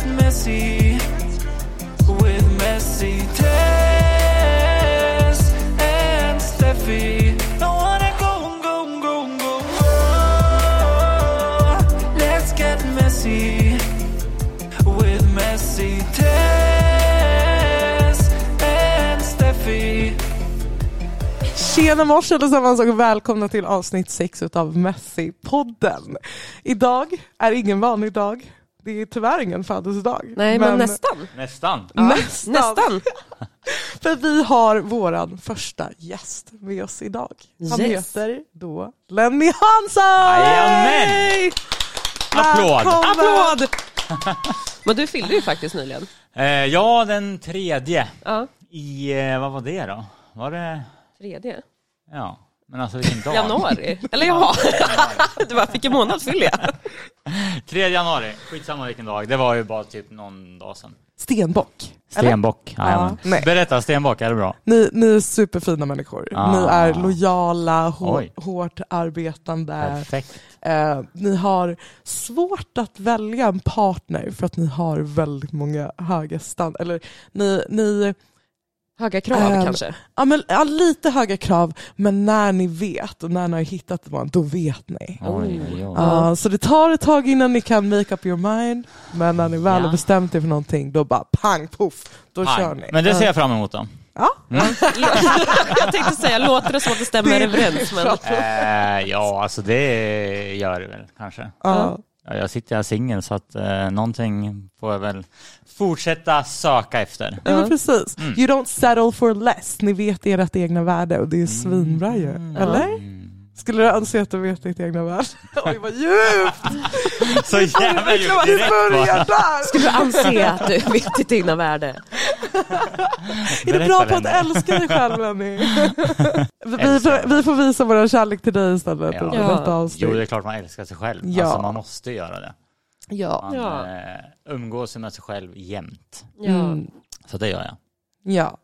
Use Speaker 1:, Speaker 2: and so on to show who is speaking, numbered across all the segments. Speaker 1: messy with messy Tess and Steffi. I wanna go and go and go and go. Oh, let's get messy with messy Tess and Steffi.
Speaker 2: Tjena mors allesammans och välkomna till avsnitt 6 av Messi-podden. Idag är ingen vanlig dag. Det är tyvärr ingen födelsedag.
Speaker 3: Nej men, nästan.
Speaker 4: Nästan.
Speaker 2: nästan.
Speaker 3: Nästan.
Speaker 2: För vi har våran första gäst med oss idag. Han
Speaker 3: Yes.
Speaker 2: heter då Lenny Hansson!
Speaker 4: Jajamän!
Speaker 2: Yay!
Speaker 4: Applåd!
Speaker 2: Välkommen!
Speaker 3: Applåd! Men du fyllde ju faktiskt nyligen.
Speaker 4: Eh, ja, den tredje
Speaker 3: Ja.
Speaker 4: i, eh, vad var det då? Var det,
Speaker 3: Tredje.
Speaker 4: ja, men alltså vilken dag?
Speaker 3: Januari. Eller jaha. Du bara, fick en månad fyller jag.
Speaker 4: Tredje januari, skitsamma vilken dag. Det var ju bara typ någon dag sedan.
Speaker 2: Stenbock. eller?
Speaker 4: Stenbock.
Speaker 2: jajamän. Nej.
Speaker 4: Berätta, stenbock, är det bra?
Speaker 2: Ni, ni är superfina människor.
Speaker 4: Ah.
Speaker 2: Ni är lojala, hår,
Speaker 4: Oj.
Speaker 2: hårt arbetande.
Speaker 4: Perfekt.
Speaker 2: Eh, ni har svårt att välja en partner för att ni har väldigt många höga standarder. Eller ni, ni
Speaker 3: Höga krav
Speaker 2: Ehm,
Speaker 3: kanske.
Speaker 2: ja, men, ja, lite höga krav, men när ni vet och när ni har hittat någon, då vet ni.
Speaker 4: Oj, oj, oj.
Speaker 2: Ja, så det tar ett tag innan ni kan make up your mind, men när ni väl har
Speaker 4: Ja.
Speaker 2: bestämt er för någonting, då bara pang poff, då
Speaker 4: Pang.
Speaker 2: kör ni.
Speaker 4: Men det ser jag fram emot då.
Speaker 2: Ja.
Speaker 3: Jag tänkte säga, låter det som att det stämmer
Speaker 2: Det-
Speaker 3: överens? Men...
Speaker 4: Eh, ja, alltså det gör det väl kanske.
Speaker 2: Eh, Ja.
Speaker 4: Ja, jag sitter här singel så att eh, någonting får jag väl fortsätta söka efter.
Speaker 2: Ja, men precis.
Speaker 4: Mm.
Speaker 2: You don't settle for less. Ni vet ert egna värde och
Speaker 4: Mm.
Speaker 2: det är svinbra ju. Eller? Skulle du önska att du vet ditt egna värde? Oj vad djupt!
Speaker 4: Så
Speaker 2: Verkligen
Speaker 4: jävla
Speaker 2: vad
Speaker 4: djupt
Speaker 2: vi
Speaker 4: direkt
Speaker 2: börjar
Speaker 4: bara.
Speaker 2: där!
Speaker 3: Du anser att du vet ditt egna värde.
Speaker 2: Är du
Speaker 4: Berätta,
Speaker 2: bra på att
Speaker 4: Lenny.
Speaker 2: älska dig själv Lenny? vi, vi,
Speaker 4: Älskar
Speaker 2: får,
Speaker 4: mig.
Speaker 2: vi får visa vår kärlek till dig istället
Speaker 4: Ja.
Speaker 2: under
Speaker 3: Ja.
Speaker 2: detta
Speaker 4: Jo, det är
Speaker 2: avsnitt.
Speaker 4: klart man älskar sig själv.
Speaker 2: Ja.
Speaker 4: Alltså man måste göra det.
Speaker 2: Ja.
Speaker 4: Man
Speaker 3: Ja.
Speaker 4: eh, umgås med sig själv jämt.
Speaker 3: Ja.
Speaker 2: Mm.
Speaker 4: Så det gör jag.
Speaker 2: ja.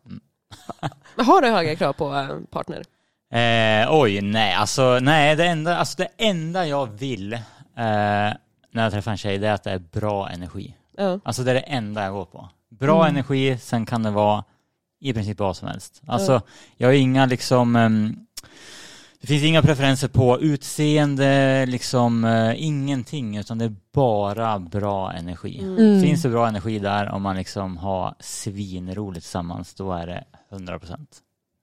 Speaker 3: Men Har du höga krav på eh, partner?
Speaker 4: Eh, oj, nej. Alltså, nej det, enda, alltså, det enda jag vill eh, när jag träffar en tjej det är att det är bra energi.
Speaker 3: Ja.
Speaker 4: Alltså det är det enda jag går på. Bra energi, sen kan det vara i princip vad som helst. Alltså jag har inga liksom ehm, det finns inga preferenser på utseende, liksom eh, ingenting, utan det är bara bra energi.
Speaker 3: Mm.
Speaker 2: Mm.
Speaker 4: Finns det bra energi där, om man liksom har svinroligt tillsammans, då är det 100 procent.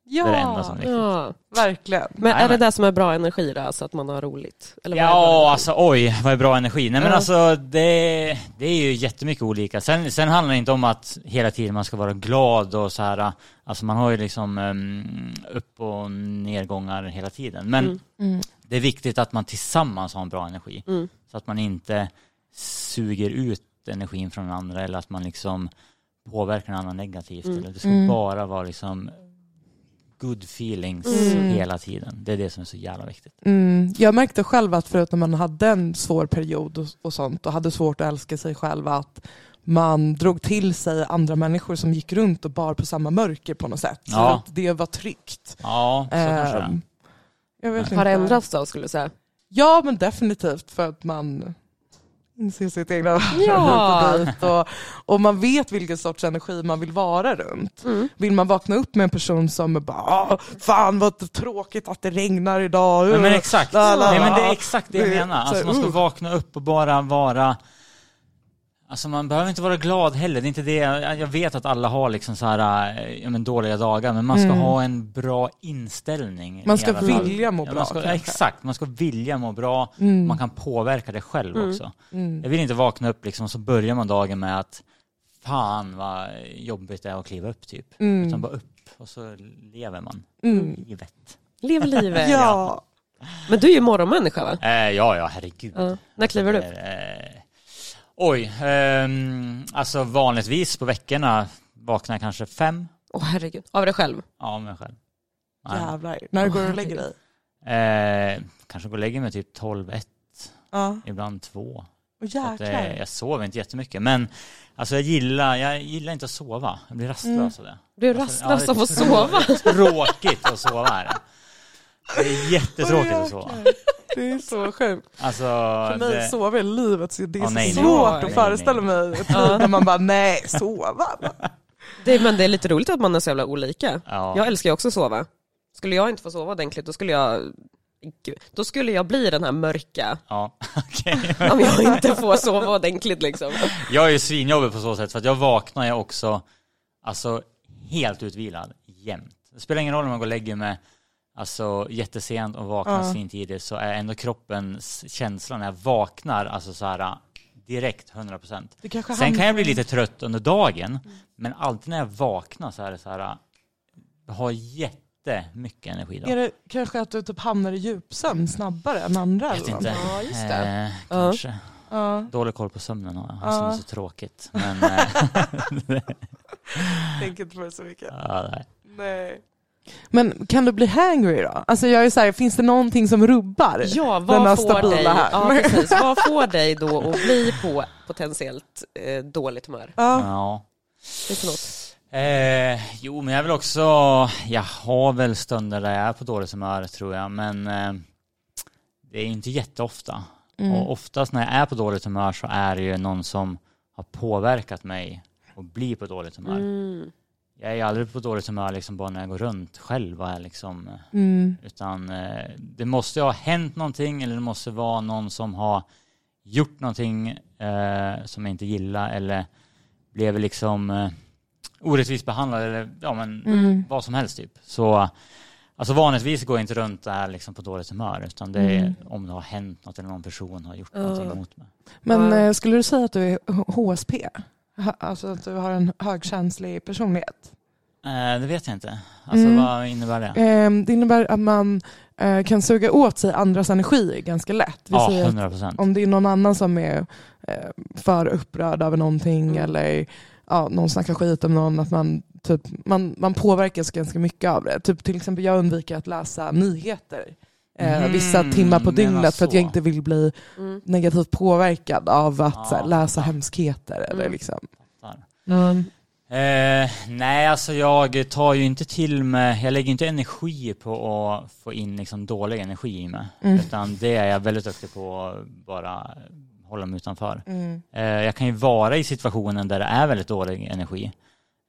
Speaker 4: Det är det enda som är viktigt.
Speaker 3: ja.
Speaker 2: verkligen.
Speaker 3: Men är det
Speaker 4: Jajamän.
Speaker 3: det som är bra energi då, alltså att man har roligt? Eller vad är bra energi?
Speaker 4: Ja, alltså oj, vad är bra energi. Nej men
Speaker 3: Ja.
Speaker 4: alltså det, det är ju jättemycket olika. Sen, sen handlar det inte om att hela tiden man ska vara glad och så här. Alltså man har ju liksom em, upp och nedgångar hela tiden. Men
Speaker 3: Mm.
Speaker 4: det är viktigt att man tillsammans har en bra energi.
Speaker 3: Mm.
Speaker 4: Så att man inte suger ut energin från den andra eller att man liksom påverkar den andra negativt.
Speaker 3: Mm.
Speaker 4: Eller det ska
Speaker 2: Mm.
Speaker 4: bara vara liksom good feelings
Speaker 3: Mm.
Speaker 4: hela tiden. Det är det som är så jävla viktigt.
Speaker 2: Mm, jag märkte själv att förut när man hade en svår period och, och sånt och hade svårt att älska sig själv att man drog till sig andra människor som gick runt och bar på samma mörker på något sätt. Så
Speaker 4: Ja.
Speaker 2: att det var tryggt.
Speaker 3: Eh,
Speaker 4: Ja, så kanske det är.
Speaker 2: Ehm, jag vet
Speaker 3: Mm. Har
Speaker 2: inte.
Speaker 3: det ändrats då skulle du säga?
Speaker 2: Ja men definitivt för att man inser sitt egna värde
Speaker 3: Ja.
Speaker 2: hit och dit och, och man vet vilken sorts energi man vill vara runt.
Speaker 4: Mm.
Speaker 2: Vill man vakna upp med en person som är bara "Ah, fan vad tråkigt att det regnar idag.
Speaker 4: Nej, men exakt.
Speaker 2: La, la,
Speaker 4: Nej, men det
Speaker 2: la.
Speaker 4: är exakt det jag
Speaker 2: Det är
Speaker 4: menar.
Speaker 2: så här,
Speaker 4: Alltså, man ska
Speaker 2: uh.
Speaker 4: vakna upp och bara vara... Alltså man behöver inte vara glad heller. Det är inte det. Jag jag vet att alla har liksom så här, eh, ja, men dåliga dagar, men man ska ha en bra inställning.
Speaker 2: Mm. Man
Speaker 4: i
Speaker 2: ska
Speaker 4: alla fall.
Speaker 2: vilja må
Speaker 4: Ja,
Speaker 2: bra,
Speaker 4: man ska, ja,
Speaker 2: kanske.
Speaker 4: exakt, man ska vilja må bra.
Speaker 2: Mm.
Speaker 4: Man kan påverka det själv också. Jag vill inte vakna upp liksom, och så börjar man dagen med att fan vad jobbigt det är att kliva upp typ.
Speaker 2: Mm.
Speaker 4: Utan bara upp och så lever man livet.
Speaker 3: Lev livet.
Speaker 2: Ja.
Speaker 3: Men du är ju morgonmänniska va?
Speaker 4: Eh, ja, ja, herregud.
Speaker 3: Ja. När kliver du upp?
Speaker 4: Eh, oj, ehm, alltså vanligtvis på veckorna vaknar jag kanske fem.
Speaker 3: Åh herregud, av dig själv.
Speaker 4: Ja, men själv. Nej.
Speaker 2: Jävlar. När du går och lägger dig.
Speaker 4: Eh, kanske går och lägger mig typ 12, 1,
Speaker 2: Ja.
Speaker 4: ibland 2.
Speaker 2: Och
Speaker 4: Så att, eh,
Speaker 2: jäklar.
Speaker 4: jag sover inte jättemycket, men alltså jag gillar, jag gillar inte att sova. Jag blir rastlös av
Speaker 2: Mm.
Speaker 4: det.
Speaker 3: Du är
Speaker 4: Alltså, ja,
Speaker 3: rastlös
Speaker 4: det är
Speaker 3: av att sova.
Speaker 4: Tråkigt att sova är det. Det är jättetråkigt att sova.
Speaker 2: Det är så sjukt.
Speaker 4: Alltså,
Speaker 2: För mig
Speaker 4: det,
Speaker 2: sova är livet. så Det är
Speaker 4: Ja,
Speaker 2: så
Speaker 4: nej,
Speaker 3: nej.
Speaker 2: svårt
Speaker 3: Nej,
Speaker 2: att
Speaker 3: nej.
Speaker 2: föreställa mig ett liv där man bara, nej, sova.
Speaker 3: Det, men det är lite roligt att man är så jävla olika.
Speaker 4: ja.
Speaker 3: Jag älskar ju också att sova. Skulle jag inte få sova ordentligt då skulle jag Gud, då skulle jag bli den här mörka
Speaker 4: ja. okej.
Speaker 3: om jag inte får sova ordentligt liksom.
Speaker 4: Jag är ju svinjobbig på så sätt för att jag vaknar ju också alltså, helt utvilad jämt. Det spelar ingen roll om jag går och lägger mig alltså, jättesent och vaknar
Speaker 2: Ja.
Speaker 4: svintidigt så är ändå kroppens känsla när jag vaknar alltså, så här, direkt 100%.
Speaker 2: Det kanske
Speaker 4: Sen
Speaker 2: handlar-
Speaker 4: kan jag bli lite trött under dagen men alltid när jag vaknar så är det så här, jag har jättemycket energi då.
Speaker 2: Är det kanske att du typ hamnar i djupsömn snabbare än andra?
Speaker 4: Jag vet
Speaker 2: eller
Speaker 4: inte.
Speaker 2: något?
Speaker 3: Ja, just det.
Speaker 4: Eh, kanske.
Speaker 2: Ja,
Speaker 4: Dålig koll på sömnen har jag,
Speaker 2: Ja.
Speaker 4: som är så tråkigt. Men, eh,
Speaker 2: tänker inte på det så mycket.
Speaker 4: ja, nej.
Speaker 2: Nej. Men kan du bli hangry då? Alltså jag är så här, finns det någonting som rubbar?
Speaker 3: Ja,
Speaker 2: Den här
Speaker 3: vad får,
Speaker 2: stabila
Speaker 3: dig,
Speaker 2: här.
Speaker 3: ja, precis, vad får dig då att bli på potentiellt eh, dåligt humör?
Speaker 2: Ja.
Speaker 4: ja.
Speaker 3: Finns det något?
Speaker 4: Eh, jo, men jag vill också... Jag har väl stunder där jag är på dåligt humör, tror jag. Men eh, det är ju inte jätteofta.
Speaker 2: Mm.
Speaker 4: Och oftast när jag är på dåligt humör så är det ju någon som har påverkat mig och blir på dåligt humör.
Speaker 3: Mm.
Speaker 4: Jag är ju aldrig på dåligt humör liksom bara när jag går runt själv. och är Liksom, eh,
Speaker 2: Mm.
Speaker 4: utan eh, det måste ju ha hänt någonting eller det måste vara någon som har gjort någonting eh, som jag inte gillar eller blev liksom eh, orättvist behandlad eller ja men
Speaker 2: Mm.
Speaker 4: vad som helst typ. Så alltså vanligtvis går jag inte runt där liksom på dåligt humör utan det är
Speaker 2: Mm.
Speaker 4: om det har hänt något eller någon person har gjort
Speaker 3: Ja.
Speaker 4: någonting mot mig.
Speaker 2: Men
Speaker 3: Ja.
Speaker 2: eh, skulle du säga att du är H- HSP? Ha- Alltså att du har en högkänslig personlighet?
Speaker 4: Eh, det vet jag inte. Alltså
Speaker 2: Mm.
Speaker 4: vad innebär det?
Speaker 2: Ehm, det innebär att man eh, kan suga åt sig andras energi ganska lätt. Vi
Speaker 4: Ja,
Speaker 2: säger att
Speaker 4: hundra procent.
Speaker 2: om det är någon annan som är eh, för upprörd över någonting
Speaker 3: Mm.
Speaker 2: eller ja, någon snackar skit om någon, att man, typ, man, man påverkas ganska mycket av det. Typ, till exempel jag undviker att läsa nyheter eh,
Speaker 4: Mhm,
Speaker 2: vissa timmar på
Speaker 4: menar
Speaker 2: dygnet för att jag
Speaker 4: så.
Speaker 2: inte vill bli
Speaker 3: Mm.
Speaker 2: negativt påverkad av att
Speaker 4: Ja.
Speaker 2: så här, läsa hemskheter. Eller,
Speaker 3: Mm.
Speaker 2: liksom.
Speaker 4: Fattar.
Speaker 2: mm.
Speaker 4: Eh, nej, alltså jag tar ju inte till mig, jag lägger inte energi på att få in liksom dålig energi i mig.
Speaker 2: Mm.
Speaker 4: Utan det är jag väldigt duktig på att bara hålla mig utanför.
Speaker 2: Mm.
Speaker 4: Eh, jag kan ju vara i situationen där det är väldigt dålig energi.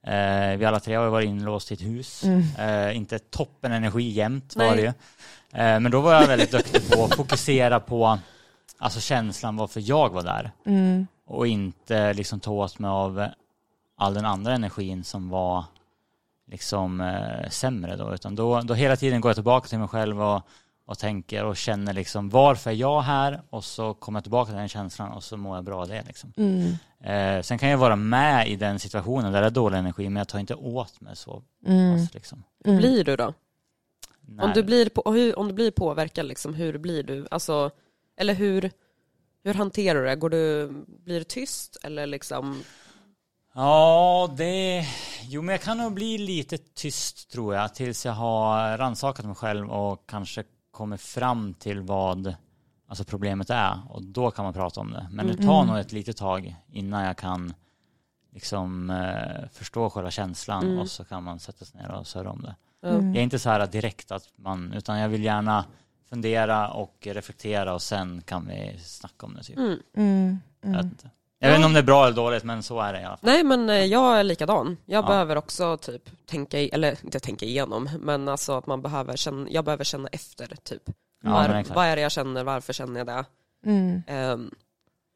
Speaker 4: Eh, vi alla tre har ju varit inlåst i ett hus.
Speaker 2: Mm.
Speaker 4: Eh, inte toppen energi jämt var
Speaker 3: Nej.
Speaker 4: det ju. Eh, men då var jag väldigt duktig på att fokusera på alltså känslan varför jag var där
Speaker 2: Mm.
Speaker 4: och inte liksom ta åt mig av all den andra energin som var liksom eh, sämre då. Utan då, då hela tiden går jag tillbaka till mig själv och, och tänker och känner liksom varför är jag här? Och så kommer jag tillbaka till den känslan och så mår jag bra av det liksom.
Speaker 2: Mm.
Speaker 4: Eh, sen kan jag vara med i den situationen där det är dålig energi men jag tar inte åt mig så
Speaker 2: Mm.
Speaker 4: pass liksom.
Speaker 2: Mm.
Speaker 3: Blir du då? Om
Speaker 4: Nej.
Speaker 3: du, blir på, och hur, om du blir påverkad, liksom, hur blir du? Alltså, eller hur, hur hanterar du det? Går du, blir du tyst? Eller liksom,
Speaker 4: Ja, det... Jo, men jag kan nog bli lite tyst tror jag tills jag har rannsakat mig själv och kanske kommit fram till vad alltså, problemet är. Och då kan man prata om det. Men det tar
Speaker 2: Mm.
Speaker 4: nog ett litet tag innan jag kan liksom eh, förstå själva känslan
Speaker 3: Mm.
Speaker 4: och så kan man sätta sig ner och surra om det.
Speaker 2: Mm.
Speaker 4: Jag är inte så här direkt att man, utan jag vill gärna fundera och reflektera och sen kan vi snacka om det typ.
Speaker 3: Mm.
Speaker 2: Mm.
Speaker 4: Jag,
Speaker 2: Mm.
Speaker 4: vet inte. jag vet
Speaker 3: Ja.
Speaker 4: inte om det är bra eller dåligt men så är det i alla fall.
Speaker 3: Nej men eh, jag är likadan. Jag
Speaker 4: Ja.
Speaker 3: behöver också typ tänka, i- eller inte tänka igenom, men alltså att man behöver känna, jag behöver känna efter typ.
Speaker 4: Ja,
Speaker 3: Var,
Speaker 4: men exakt.
Speaker 3: vad är det jag känner, varför känner jag det?
Speaker 2: Mm.
Speaker 3: Ehm,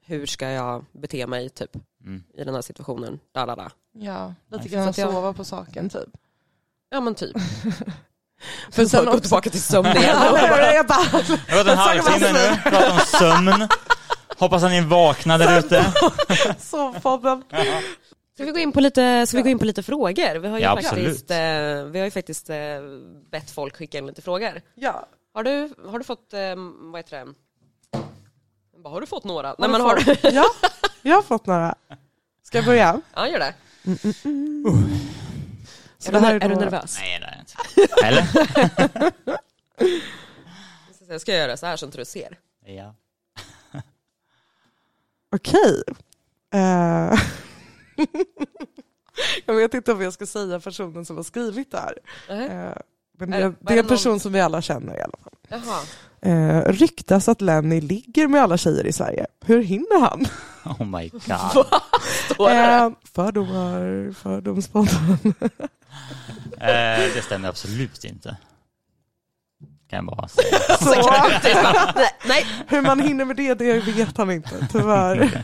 Speaker 3: hur ska jag bete mig typ
Speaker 4: Mm.
Speaker 3: i den här situationen? Da, da, da.
Speaker 2: Ja, lite
Speaker 4: Nice.
Speaker 2: grann
Speaker 3: Så att jag-
Speaker 2: sova på saken typ.
Speaker 3: Ja men typ.
Speaker 2: För
Speaker 3: Så
Speaker 2: sen
Speaker 3: gå
Speaker 2: också...
Speaker 3: tillbaka till sömnen
Speaker 2: Ja,
Speaker 3: igen.
Speaker 2: nej, nej, jag bara-
Speaker 4: Det har gått en halvtimme nu, pratat om sömn. Hoppas att ni är vakna där ute.
Speaker 2: Sovpodden.
Speaker 3: Ska vi gå in på lite, ska vi gå in på lite frågor? Vi har ju
Speaker 4: Ja,
Speaker 3: faktiskt,
Speaker 4: absolut.
Speaker 3: eh, vi har ju faktiskt eh, bett folk skicka in lite frågor.
Speaker 2: Ja.
Speaker 3: Har du, har du fått, eh, vad heter det? Jag bara, Har du fått några? Nej
Speaker 2: du
Speaker 3: men har du?
Speaker 2: fått- Ja, jag har fått några. Ska jag börja?
Speaker 3: Ja gör det.
Speaker 2: Så det här är då-
Speaker 3: nervös?
Speaker 4: Nej det är jag inte. Eller?
Speaker 3: Jag ska göra så här så inte du ser.
Speaker 4: Ja.
Speaker 2: Okej. Eh, jag vet inte om jag ska säga personen som har skrivit det här.
Speaker 3: uh
Speaker 2: Eh, Men
Speaker 3: Är-
Speaker 2: det,
Speaker 3: var
Speaker 2: det
Speaker 3: det
Speaker 2: är en
Speaker 3: någon-
Speaker 2: person som vi alla känner i alla fall.
Speaker 3: Jaha.
Speaker 2: Eh, ryktas att Lenny ligger med alla tjejer i Sverige. Hur hinner han?
Speaker 4: Oh my god.
Speaker 2: Eh, fördomar, fördomspodden.
Speaker 4: eh, det stämmer absolut inte. Kan jag bara säga.
Speaker 2: Så,
Speaker 3: Nej, nej.
Speaker 2: hur man hinner med det, det vet han inte tyvärr.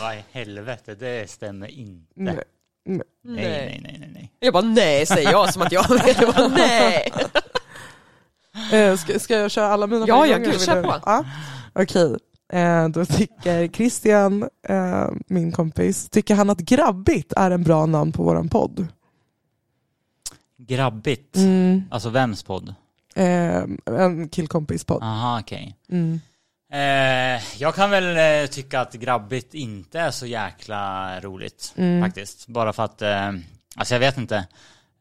Speaker 4: Vad i helvete, det stämmer inte.
Speaker 2: Nej.
Speaker 4: Nej,
Speaker 3: nej.
Speaker 4: nej, nej, nej. nej.
Speaker 3: Jag bara nej säger jag som att jag vet. Jag bara, nej.
Speaker 2: Eh, ska, ska jag köra alla mina
Speaker 3: Ja,
Speaker 2: fem
Speaker 3: ja,
Speaker 2: gånger?
Speaker 3: gud, kör
Speaker 2: Vill du-
Speaker 3: på.
Speaker 2: Ja. Okej, eh, då tycker Christian, eh, min kompis, tycker han att grabbigt är en bra namn på våran podd?
Speaker 4: Grabbigt.
Speaker 2: Mm.
Speaker 4: Alltså vems podd?
Speaker 2: Eh, en killkompis podd.
Speaker 4: Aha, okej.
Speaker 2: Mm.
Speaker 4: Eh, jag kan väl eh, tycka att grabbigt inte är så jäkla roligt
Speaker 2: Mm.
Speaker 4: faktiskt. Bara för att, eh, alltså jag vet inte.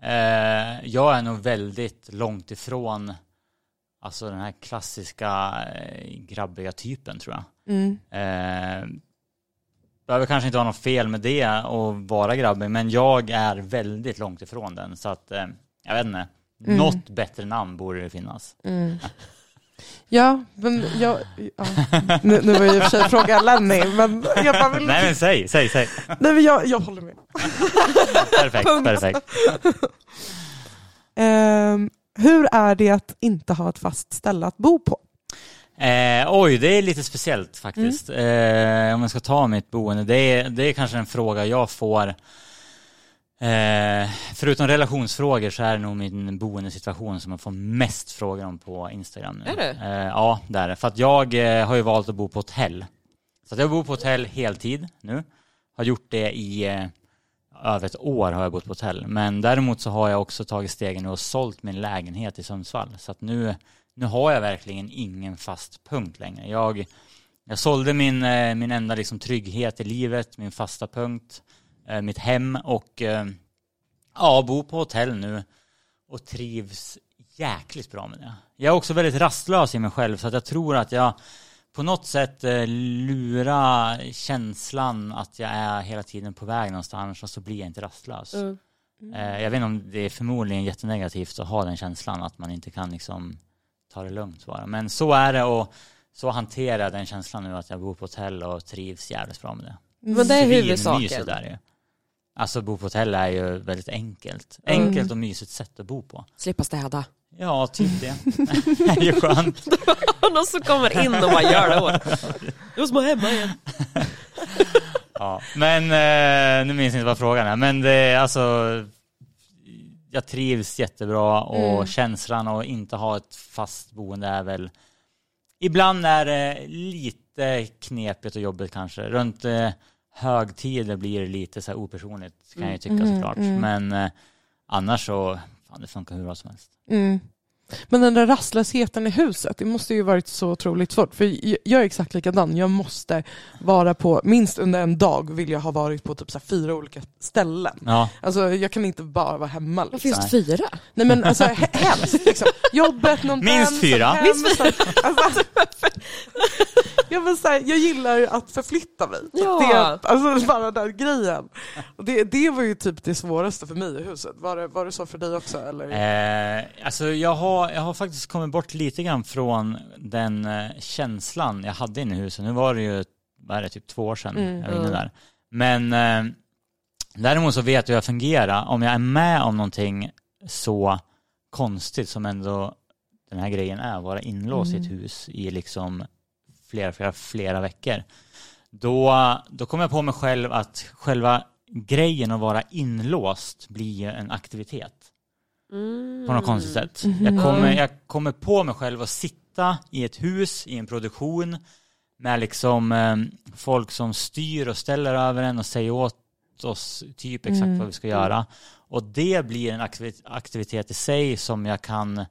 Speaker 4: Eh, jag är nog väldigt långt ifrån alltså den här klassiska eh, grabbiga typen tror jag.
Speaker 2: Mm.
Speaker 4: Eh, behöver kanske inte ha något fel med det och vara grabbig, men jag är väldigt långt ifrån den. Så att, eh, jag vet inte.
Speaker 2: Mm.
Speaker 4: Något bättre namn borde det finnas.
Speaker 2: Mm. Ja, men jag... Ja. Nu, nu var jag i och för sig fråga Lenny, men jag bara vill...
Speaker 4: Nej men säg, säg, säg.
Speaker 2: Nej, men jag, jag håller med.
Speaker 4: Perfekt, perfekt.
Speaker 2: Ehm, hur är det att inte ha ett fast ställe att bo på?
Speaker 4: Eh, oj, det är lite speciellt faktiskt.
Speaker 3: Mm.
Speaker 4: Eh, om jag ska ta mitt boende, det är, det är kanske en fråga jag får. Eh, förutom relationsfrågor så är det nog min boendesituation som jag får mest frågor om på Instagram. Nu.
Speaker 3: Är det?
Speaker 4: Eh, ja, det är det. För att jag eh, har ju valt att bo på hotell. Så att jag bor på hotell heltid nu. Har gjort det i eh, över ett år har jag bott på hotell. Men däremot så har jag också tagit stegen och sålt min lägenhet i Sundsvall. Så att nu, nu har jag verkligen ingen fast punkt längre. Jag, jag sålde min, eh, min enda liksom trygghet i livet, min fasta punkt, eh, mitt hem och eh, ja, bor på hotell nu och trivs jäkligt bra med det. Jag är också väldigt rastlös i mig själv så att jag tror att jag på något sätt eh, lura känslan att jag är hela tiden på väg någonstans och så blir jag inte rastlös.
Speaker 3: Mm.
Speaker 4: Eh, Jag vet inte om det är förmodligen jättenegativt att ha den känslan att man inte kan liksom ta det lugnt bara. Men så är det och så hanterar jag den känslan nu att jag bor på hotell och trivs jävligt bra med det.
Speaker 3: Men
Speaker 2: Mm.
Speaker 3: det är
Speaker 4: Svinmysigt
Speaker 3: huvudsaken.
Speaker 4: är det ju. Alltså bo på hotell är ju väldigt enkelt.
Speaker 3: Mm.
Speaker 4: Enkelt och mysigt sätt att bo på.
Speaker 3: Slippa städa.
Speaker 4: Ja, typ det. det är ju skönt.
Speaker 3: Någon som kommer in och bara gör det åt. Det var som att vara hemma igen.
Speaker 4: Ja. Men eh, nu minns jag inte vad frågan är. Men det är alltså, jag trivs jättebra och
Speaker 2: Mm.
Speaker 4: känslan att inte ha ett fast boende är väl, ibland är det lite knepigt och jobbigt kanske. Runt eh, högtider blir det lite så här opersonligt kan jag ju tycka
Speaker 2: Mm,
Speaker 4: såklart.
Speaker 2: mm.
Speaker 4: Men eh, annars så, fan det funkar hur bra som helst.
Speaker 2: Mm. Men den där rastlösheten i huset, det måste ju varit så otroligt svårt. För j- jag är exakt likadan. Jag måste vara på, minst under en dag vill jag ha varit på typ så här fyra olika ställen.
Speaker 4: Ja,
Speaker 2: Alltså jag kan inte bara vara hemma. Liksom.
Speaker 4: finns det
Speaker 3: fyra?
Speaker 2: Nej men alltså he- helst liksom. Jobbet, någon
Speaker 4: Minst
Speaker 2: vän,
Speaker 4: fyra.
Speaker 2: sen hem,
Speaker 3: Minst
Speaker 2: sen- Alltså, jag, vill säga, jag gillar att förflytta mig. Så
Speaker 3: Ja.
Speaker 2: Det, alltså bara den grejen. Och det, det var ju typ det svåraste för mig i huset. Var det, var det så för dig också? Eller?
Speaker 4: Eh, alltså jag har, jag har faktiskt kommit bort lite grann från den eh, känslan jag hade inne i huset. Nu var det ju, vad är det, typ två år sedan
Speaker 2: Mm.
Speaker 4: jag var inne där. Men eh, däremot så vet jag hur jag fungerar. Om jag är med om någonting så konstigt som ändå den här grejen är, att vara inlåst i ett
Speaker 2: Mm.
Speaker 4: hus i liksom flera, flera, flera veckor. Då, då kommer jag på mig själv att själva grejen att vara inlåst blir ju en aktivitet
Speaker 3: Mm.
Speaker 4: på något konstigt sätt.
Speaker 2: Mm. Mm-hmm.
Speaker 4: Jag, kommer, jag kommer på mig själv att sitta i ett hus, i en produktion med liksom eh, folk som styr och ställer över en och säger åt oss typ exakt
Speaker 2: Mm.
Speaker 4: vad vi ska göra. Och det blir en aktivi- aktivitet i sig som jag kan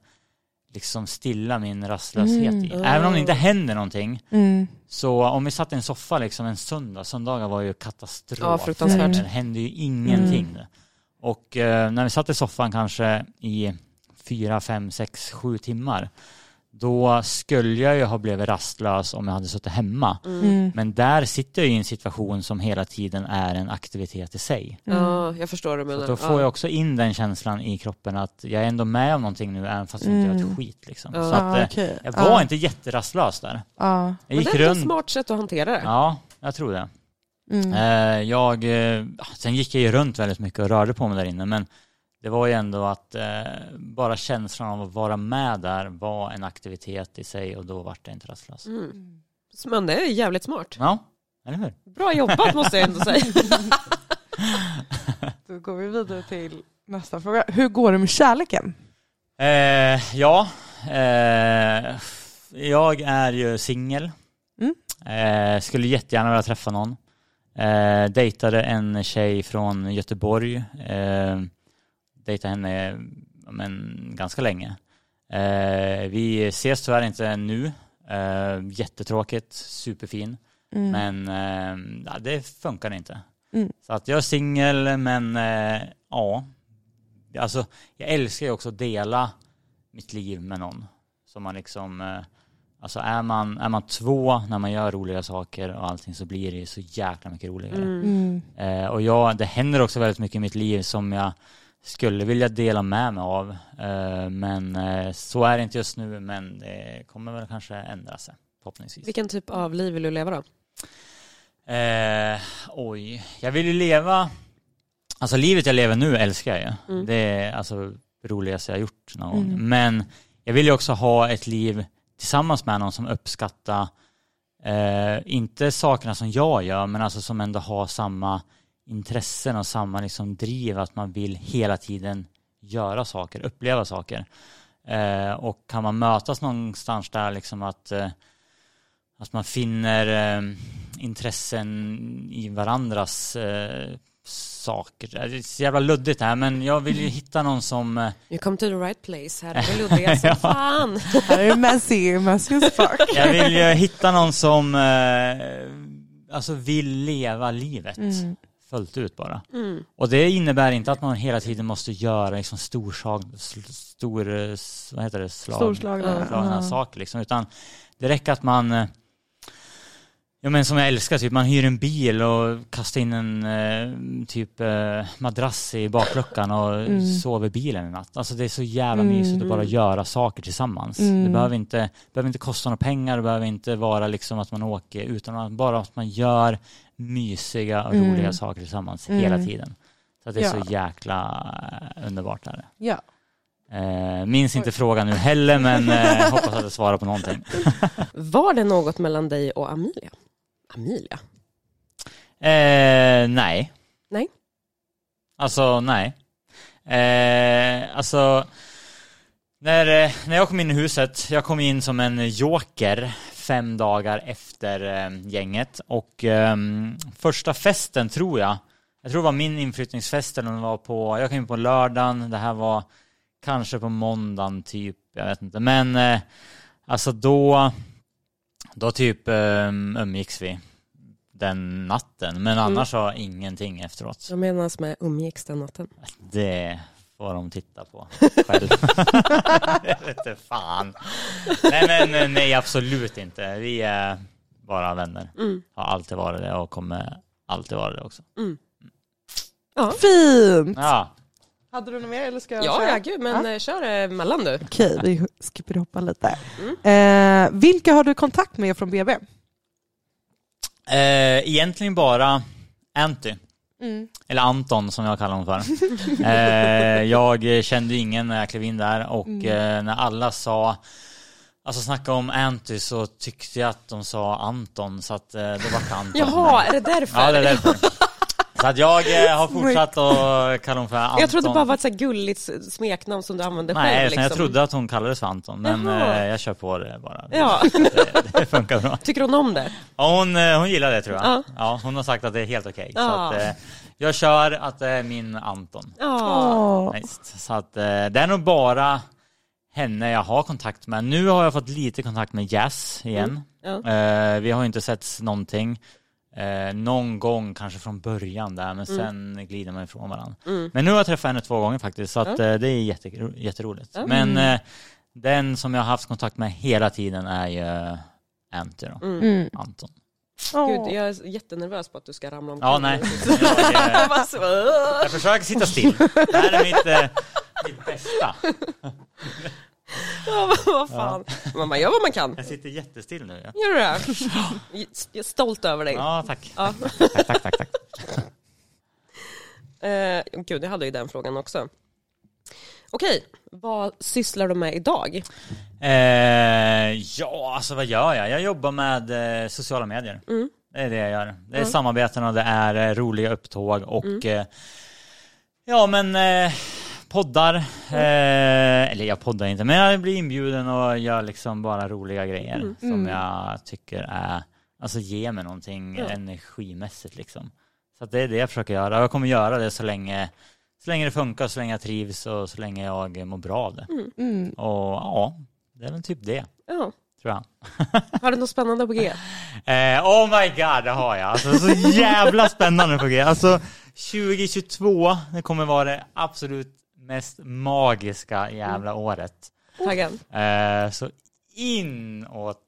Speaker 4: liksom stilla min rastlöshet i.
Speaker 3: Mm.
Speaker 4: Även om det inte händer någonting.
Speaker 2: Oh. Mm.
Speaker 4: Så om vi satt i en soffa liksom en söndag, söndagar var ju katastrof.
Speaker 3: Ja, fruktansvärt.
Speaker 4: Det hände ju ingenting.
Speaker 2: Mm.
Speaker 4: Och eh, när vi satt i soffan kanske i fyra, fem, sex, sju timmar, då skulle jag ju ha blivit rastlös om jag hade suttit hemma.
Speaker 2: Mm.
Speaker 4: Men där sitter jag i en situation som hela tiden är en aktivitet i sig.
Speaker 2: Mm.
Speaker 3: Ja, jag förstår vad du
Speaker 4: Så
Speaker 3: menar.
Speaker 4: att då får jag också in den känslan i kroppen att jag är ändå med om någonting nu även fast jag inte gör
Speaker 2: Mm.
Speaker 4: ett skit liksom.
Speaker 3: Ja.
Speaker 4: Så att, eh,
Speaker 2: okej.
Speaker 4: jag
Speaker 2: Ja.
Speaker 4: var inte jätterastlös där.
Speaker 2: Ja.
Speaker 4: Jag
Speaker 3: Men
Speaker 4: gick
Speaker 3: det är ett
Speaker 4: runt.
Speaker 3: smart sätt att hantera det.
Speaker 4: Ja, jag tror det.
Speaker 2: Mm.
Speaker 4: Eh, Jag, eh, sen gick jag ju runt väldigt mycket och rörde på mig där inne men det var ju ändå att eh, bara känslan av att vara med där var en aktivitet i sig och då vart jag inte rastlös.
Speaker 3: Mm. Men det är jävligt smart.
Speaker 4: Ja, eller hur?
Speaker 3: Bra jobbat måste jag ändå säga.
Speaker 2: Då går vi vidare till nästa fråga. Hur går det med kärleken?
Speaker 4: Eh, ja, eh, jag är ju singel.
Speaker 2: Mm.
Speaker 4: Eh, skulle jättegärna vilja träffa någon. Eh, dejtade en tjej från Göteborg. Eh, dejtade henne ja, men, ganska länge. Eh, vi ses tyvärr inte nu. Eh, jättetråkigt, superfin.
Speaker 2: Mm.
Speaker 4: Men eh, ja, det funkar inte.
Speaker 2: Mm.
Speaker 4: Så att jag är singel men eh, ja. Alltså jag älskar ju också att dela mitt liv med någon. Så man liksom, eh, alltså är man, är man två när man gör roliga saker och allting så blir det ju så jäkla mycket roligare.
Speaker 3: Mm.
Speaker 2: Mm.
Speaker 4: Eh, och jag, det händer också väldigt mycket i mitt liv som jag skulle vilja dela med mig av. Eh, men eh, så är det inte just nu men det kommer väl kanske ändra sig förhoppningsvis.
Speaker 3: Vilken typ av liv vill du leva då?
Speaker 4: Eh, oj, jag vill ju leva, alltså livet jag lever nu älskar jag ju.
Speaker 3: Mm.
Speaker 4: Det är alltså det roligaste jag har gjort någon gång.
Speaker 2: Mm.
Speaker 4: Men jag vill ju också ha ett liv tillsammans med någon som uppskattar, eh, inte sakerna som jag gör, men alltså som ändå har samma intressen och samma liksom driv, att man vill hela tiden göra saker, uppleva saker. Eh, och kan man mötas någonstans där liksom att, eh, att man finner eh, intressen i varandras eh, saker. Det är så jävla luddigt det här men jag vill ju hitta någon som eh,
Speaker 3: You come to the right place. Här är det luddiga som
Speaker 4: Ja.
Speaker 3: fan.
Speaker 2: Här är det messy, messy as fuck.
Speaker 4: Jag vill ju hitta någon som eh, alltså vill leva livet
Speaker 2: Mm.
Speaker 4: fullt ut bara.
Speaker 3: Mm.
Speaker 4: Och det innebär inte att man hela tiden måste göra liksom storsag, sl- stor, eh, s- vad heter det, slag,
Speaker 2: Storslagna.
Speaker 4: slagna
Speaker 2: Ja.
Speaker 4: saker liksom, utan det räcker att man eh, Ja men som jag älskar, typ man hyr en bil och kastar in en eh, typ eh, madrass i bakluckan och
Speaker 2: Mm.
Speaker 4: sover i bilen en natt. Alltså det är så jävla
Speaker 2: Mm.
Speaker 4: mysigt att bara
Speaker 3: Mm.
Speaker 4: göra saker tillsammans.
Speaker 2: Mm.
Speaker 4: Det behöver inte, behöver inte kosta några pengar, det behöver inte vara liksom att man åker utan att- bara att man gör mysiga och
Speaker 2: Mm.
Speaker 4: roliga saker tillsammans
Speaker 2: Mm.
Speaker 4: hela tiden. Så att det är
Speaker 2: Ja.
Speaker 4: så jäkla eh, underbart där.
Speaker 2: Ja.
Speaker 4: Eh, minns inte
Speaker 2: Oj.
Speaker 4: frågan nu heller men eh, hoppas att jag svarar på någonting.
Speaker 3: Var det något mellan dig och Amelia? Amelia?
Speaker 4: Eh, nej.
Speaker 3: Nej.
Speaker 4: Alltså nej. Eh, alltså, när, eh, när jag kom in i huset, jag kom in som en joker fem dagar efter eh, gänget och ehm, första festen tror jag, jag tror det var min inflyttningsfest eller om det var på, jag kom in på lördagen, det här var kanske på måndagen typ, jag vet inte, men eh, alltså då, då typ ehm, umgicks vi den natten, men annars har ingenting efteråt.
Speaker 3: Som menas med umgicks den natten.
Speaker 4: Det får de titta på själv. jag vet inte fan. Nej men eh, nej absolut inte. Vi är bara vänner.
Speaker 3: Mm.
Speaker 4: Har alltid varit det och kommer alltid vara det också.
Speaker 2: Fint!
Speaker 4: Ja,
Speaker 2: Hade du något mer eller ska jag
Speaker 3: Ja,
Speaker 2: köra?
Speaker 3: ja gud, men eh, kör eh, mellan du.
Speaker 2: Okej, vi skipper hoppa lite. Eh, vilka har du kontakt med från BB?
Speaker 4: eh, egentligen bara Anty.
Speaker 2: Mm.
Speaker 4: Eller Anton som jag kallar honom för. eh, jag kände ingen när jag klev in där och eh, när alla sa Alltså snacka om Anty så tyckte jag att de sa Anton så att eh, det var Anton för mig.
Speaker 3: Jaha, är det därför?
Speaker 4: Ja, det är därför. Så att jag eh, har fortsatt att kalla hon för Anton.
Speaker 3: Jag trodde det bara var ett så här gulligt s- smeknamn som du använde
Speaker 4: Nej,
Speaker 3: själv. liksom.
Speaker 4: utan jag trodde att hon kallades för Anton, men
Speaker 3: Jaha.
Speaker 4: eh, jag kör på det bara. Det,
Speaker 3: Ja.
Speaker 4: det, det funkar bra.
Speaker 3: Tycker hon om det?
Speaker 4: Ja, hon, eh, hon gillar det tror jag.
Speaker 3: Ja.
Speaker 4: Ja. hon har sagt att det är helt okej. Så
Speaker 3: Ja.
Speaker 4: att, eh, jag kör att det är min Anton.
Speaker 3: Ja.
Speaker 2: Åh.
Speaker 4: Nice. Så att, eh, det är nog bara henne jag har kontakt med. Nu har jag fått lite kontakt med Jazz igen.
Speaker 3: Mm.
Speaker 4: Eh, vi har ju inte setts någonting. Eh, någon gång kanske från början där men sen glider man ifrån varandra.
Speaker 3: Mm.
Speaker 4: Men nu har jag träffat henne två gånger faktiskt så att, eh, det är jätte, jätteroligt.
Speaker 3: Ja. Mm.
Speaker 4: Men eh, Den som jag har haft kontakt med hela tiden är ju Ante då.
Speaker 3: Mm.
Speaker 2: Mm.
Speaker 4: Anton.
Speaker 3: Gud, jag är jättenervös på att du ska ramla Alltså, omkring.
Speaker 4: Ja, nej.
Speaker 3: Jag
Speaker 4: Jag, eh,
Speaker 3: bara så, "Åh!"
Speaker 4: jag försöker sitta still. Det här är mitt, eh, mitt bästa.
Speaker 3: Ja, vad- vad fan. Man bara, gör vad man kan.
Speaker 4: Jag sitter jättestill nu. Ja,
Speaker 3: Gör du det? Jag är stolt över dig.
Speaker 4: ja tack.
Speaker 3: Ja.
Speaker 4: Tack, tack, tack. tack.
Speaker 3: Eh, gud, jag hade ju den frågan också. Okej, vad sysslar du med idag?
Speaker 4: Eh, ja, alltså vad gör jag? Jag jobbar med eh, sociala medier.
Speaker 3: Mm.
Speaker 4: Det är det jag gör. Det är
Speaker 3: Mm.
Speaker 4: samarbeten och det är eh, roliga upptåg och eh, ja men eh, poddar. Eh, eller jag poddar inte men jag blir inbjuden och gör liksom bara roliga grejer som
Speaker 2: Mm.
Speaker 4: jag tycker är, alltså ger mig någonting
Speaker 3: Ja.
Speaker 4: energimässigt liksom. Så att det är det jag försöker göra och jag kommer göra det så länge, så länge det funkar, så länge jag trivs och så länge jag mår bra av det.
Speaker 2: Mm.
Speaker 4: Och ja, det är väl typ det
Speaker 3: Ja.
Speaker 4: tror jag.
Speaker 3: Har du något spännande på G?
Speaker 4: Eh, oh my god, det har jag. Alltså, så jävla spännande på G. Alltså 2022, det kommer vara det absolut mest magiska jävla
Speaker 3: Mm.
Speaker 4: året.
Speaker 3: Taggad?
Speaker 4: Eh, så inåt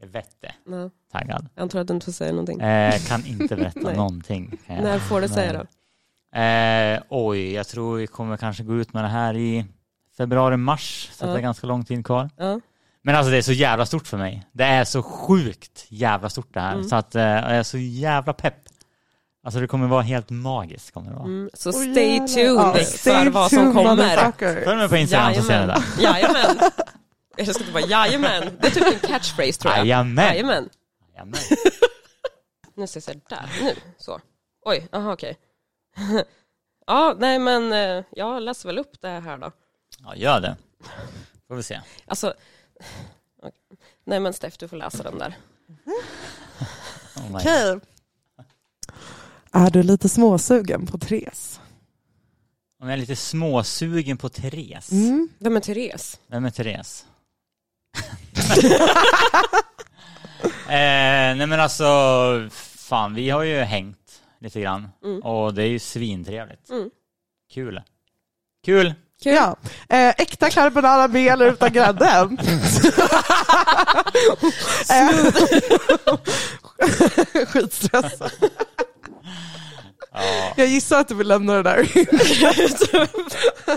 Speaker 4: helvete
Speaker 3: Nej,
Speaker 4: taggad.
Speaker 3: jag antar att du inte får säga någonting.
Speaker 4: Eh, kan inte berätta
Speaker 3: Nej.
Speaker 4: någonting. kan jag.
Speaker 3: När får du säga då?
Speaker 4: Eh, oj, jag tror vi kommer kanske gå ut med det här i februari-mars, så
Speaker 3: Ja.
Speaker 4: det är ganska lång tid kvar.
Speaker 3: Ja.
Speaker 4: Men alltså det är så jävla stort för mig. Det är så sjukt jävla stort det här.
Speaker 3: Mm.
Speaker 4: Så att eh, jag är så jävla pepp. Alltså det kommer vara helt magiskt kommer det vara.
Speaker 3: Mm, så
Speaker 2: Åh,
Speaker 3: stay
Speaker 2: Oh, jävlar.
Speaker 3: tuned
Speaker 2: Ja,
Speaker 3: för
Speaker 2: stay
Speaker 3: vad som
Speaker 2: tuned,
Speaker 3: kommer.
Speaker 2: motherfucker.
Speaker 4: Följ mig på Instagram så ser ni det.
Speaker 3: Jajamän. Jag ska inte bara jajamän. Det är typ en catchphrase tror jag.
Speaker 4: Jajamän.
Speaker 3: Jajamän.
Speaker 4: Jajamän.
Speaker 3: Nu ska jag säga där. Nu. Så. Oj, aha okej. ja, nej men eh, jag läser väl upp det här då.
Speaker 4: Ja, gör det. Får vi se.
Speaker 3: Alltså, okej. nej men Steff du får läsa den där.
Speaker 4: Oh my God.
Speaker 2: Okej. Är du lite småsugen på Therese?
Speaker 4: Om jag är lite småsugen på Therese.
Speaker 2: Mm.
Speaker 3: Vem är Therese?
Speaker 4: Vem är Therese? eh, nej men alltså, fan vi har ju hängt lite grann.
Speaker 3: Mm.
Speaker 4: Och det är ju svintrevligt.
Speaker 3: Mm.
Speaker 4: Kul. Kul!
Speaker 3: Kul.
Speaker 2: Ja. Eh, äkta carbonara med eller utan grädde? Eh, Skitstressad.
Speaker 4: Ja.
Speaker 2: Jag gissar att du vill lämna det där.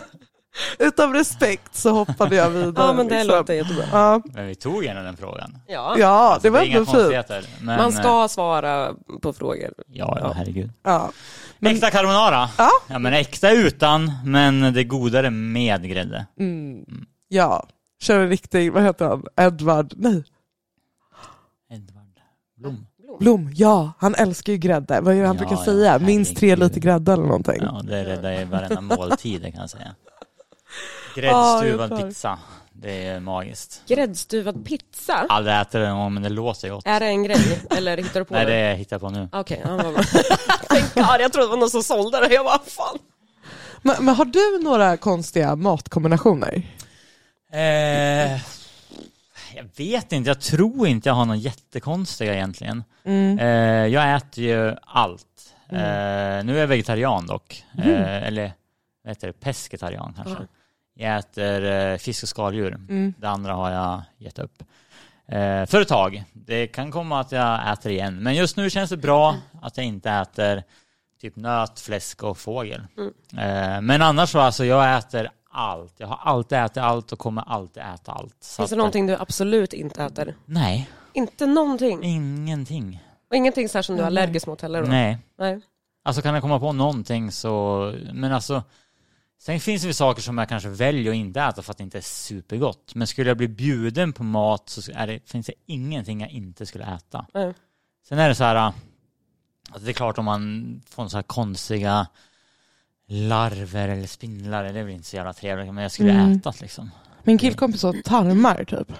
Speaker 2: Utav respekt så hoppade jag vidare.
Speaker 3: Ja men det
Speaker 2: liksom.
Speaker 3: låter jättebra.
Speaker 2: Ja,
Speaker 4: Men Eh, vi tog gärna den frågan.
Speaker 3: Ja.
Speaker 2: ja
Speaker 4: Alltså,
Speaker 2: det var
Speaker 4: är inga
Speaker 2: ändå fint.
Speaker 4: konstigheter, Men,
Speaker 3: Man
Speaker 4: eh,
Speaker 3: ska svara på frågor.
Speaker 4: Ja, ja, herregud.
Speaker 2: Ja. Men-
Speaker 4: Äkta carbonara.
Speaker 2: Ja.
Speaker 4: Ja, men äkta utan, men det godare med grädde.
Speaker 2: Mm. ja, kör en riktig, vad heter han, Edvard, nej,
Speaker 4: Edvard Blom.
Speaker 2: Blom, ja, han älskar ju grädde. Vad är det han
Speaker 4: Ja,
Speaker 2: brukar
Speaker 4: ja,
Speaker 2: säga? Minst tre
Speaker 4: herregud.
Speaker 2: liter grädde eller någonting.
Speaker 4: Ja, det räddar ju varenda måltid, det kan jag säga. Gräddstuvad
Speaker 2: Ah, jag tar.
Speaker 4: pizza. Det är magiskt.
Speaker 3: Gräddstuvad pizza?
Speaker 4: Aldrig ätit det någon gång, men det låter gott.
Speaker 3: Är det en grej? Eller hittar du på
Speaker 4: Nej, det
Speaker 3: det?
Speaker 4: är jag hittar på nu.
Speaker 3: Okej, ja, vad bra. Tänk, ja, jag trodde det var någon som sålde det. Jag bara, fan.
Speaker 2: Men, men har du några konstiga matkombinationer?
Speaker 4: Eh, jag vet inte, jag tror inte jag har någon jättekonstiga egentligen.
Speaker 2: Mm.
Speaker 4: Eh, jag äter ju allt.
Speaker 3: Mm.
Speaker 4: Eh, nu är jag vegetarian dock.
Speaker 3: Mhm.
Speaker 4: Eh, eller vad heter det? Pescetarian kanske.
Speaker 3: Ja.
Speaker 4: Jag äter eh, fisk och skaldjur.
Speaker 2: Mm.
Speaker 4: Det andra har jag gett upp. Eh, för ett tag. Det kan komma att jag äter igen. Men just nu känns det bra att jag inte äter typ nöt, fläsk och fågel.
Speaker 3: Mm.
Speaker 4: Eh, men annars så alltså, jag äter allt. Jag har alltid ätit allt och kommer alltid äta allt. Så
Speaker 3: Finns det
Speaker 4: att-
Speaker 3: någonting du absolut inte äter?
Speaker 4: Nej,
Speaker 3: Inte någonting?
Speaker 4: ingenting.
Speaker 3: Och ingenting så här som du är allergisk mot heller? då?
Speaker 4: Nej.
Speaker 3: Nej.
Speaker 4: Alltså kan jag komma på någonting så, men alltså Sen finns det väl saker som jag kanske väljer att inte äta för att det inte är supergott. Men skulle jag bli bjuden på mat så är det, finns det ingenting jag inte skulle äta.
Speaker 3: Nej.
Speaker 4: Sen är det så här, alltså det är klart om man får så här konstiga larver eller spindlar, det är väl inte så jävla trevligt, men jag skulle
Speaker 2: Mm.
Speaker 4: äta det liksom.
Speaker 2: Min killkompis åt tarmar typ.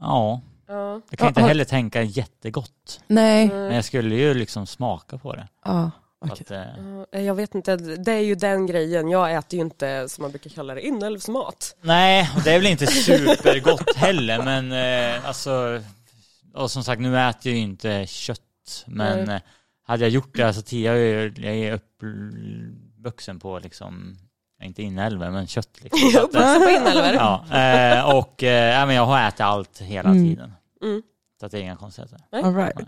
Speaker 4: Ja,
Speaker 3: Ja.
Speaker 4: jag kan
Speaker 2: Ja,
Speaker 4: inte
Speaker 2: har-
Speaker 4: heller tänka jättegott.
Speaker 2: Nej.
Speaker 4: Men jag skulle ju liksom smaka på det.
Speaker 2: Ja,
Speaker 4: Så
Speaker 2: okej.
Speaker 4: Att, eh,
Speaker 3: Ja, Jag vet inte, det är ju den grejen. Jag äter ju inte, som man brukar kalla det, inälvsmat.
Speaker 4: Nej, och det är väl inte supergott heller, men eh, alltså... Och som sagt, nu äter jag ju inte kött, men
Speaker 3: Nej.
Speaker 4: eh, hade jag gjort det, alltså tio, jag är, jag är uppvuxen på liksom ja, inte inälvor, men kött liksom. Så
Speaker 3: Jag
Speaker 4: att, eh,
Speaker 3: uppvuxen på inälvor.
Speaker 4: ja, eh, och eh, ja, men jag har ätit allt hela
Speaker 2: Mm.
Speaker 4: tiden.
Speaker 3: Mm.
Speaker 4: Så att det är inga konstigheter.
Speaker 2: All right.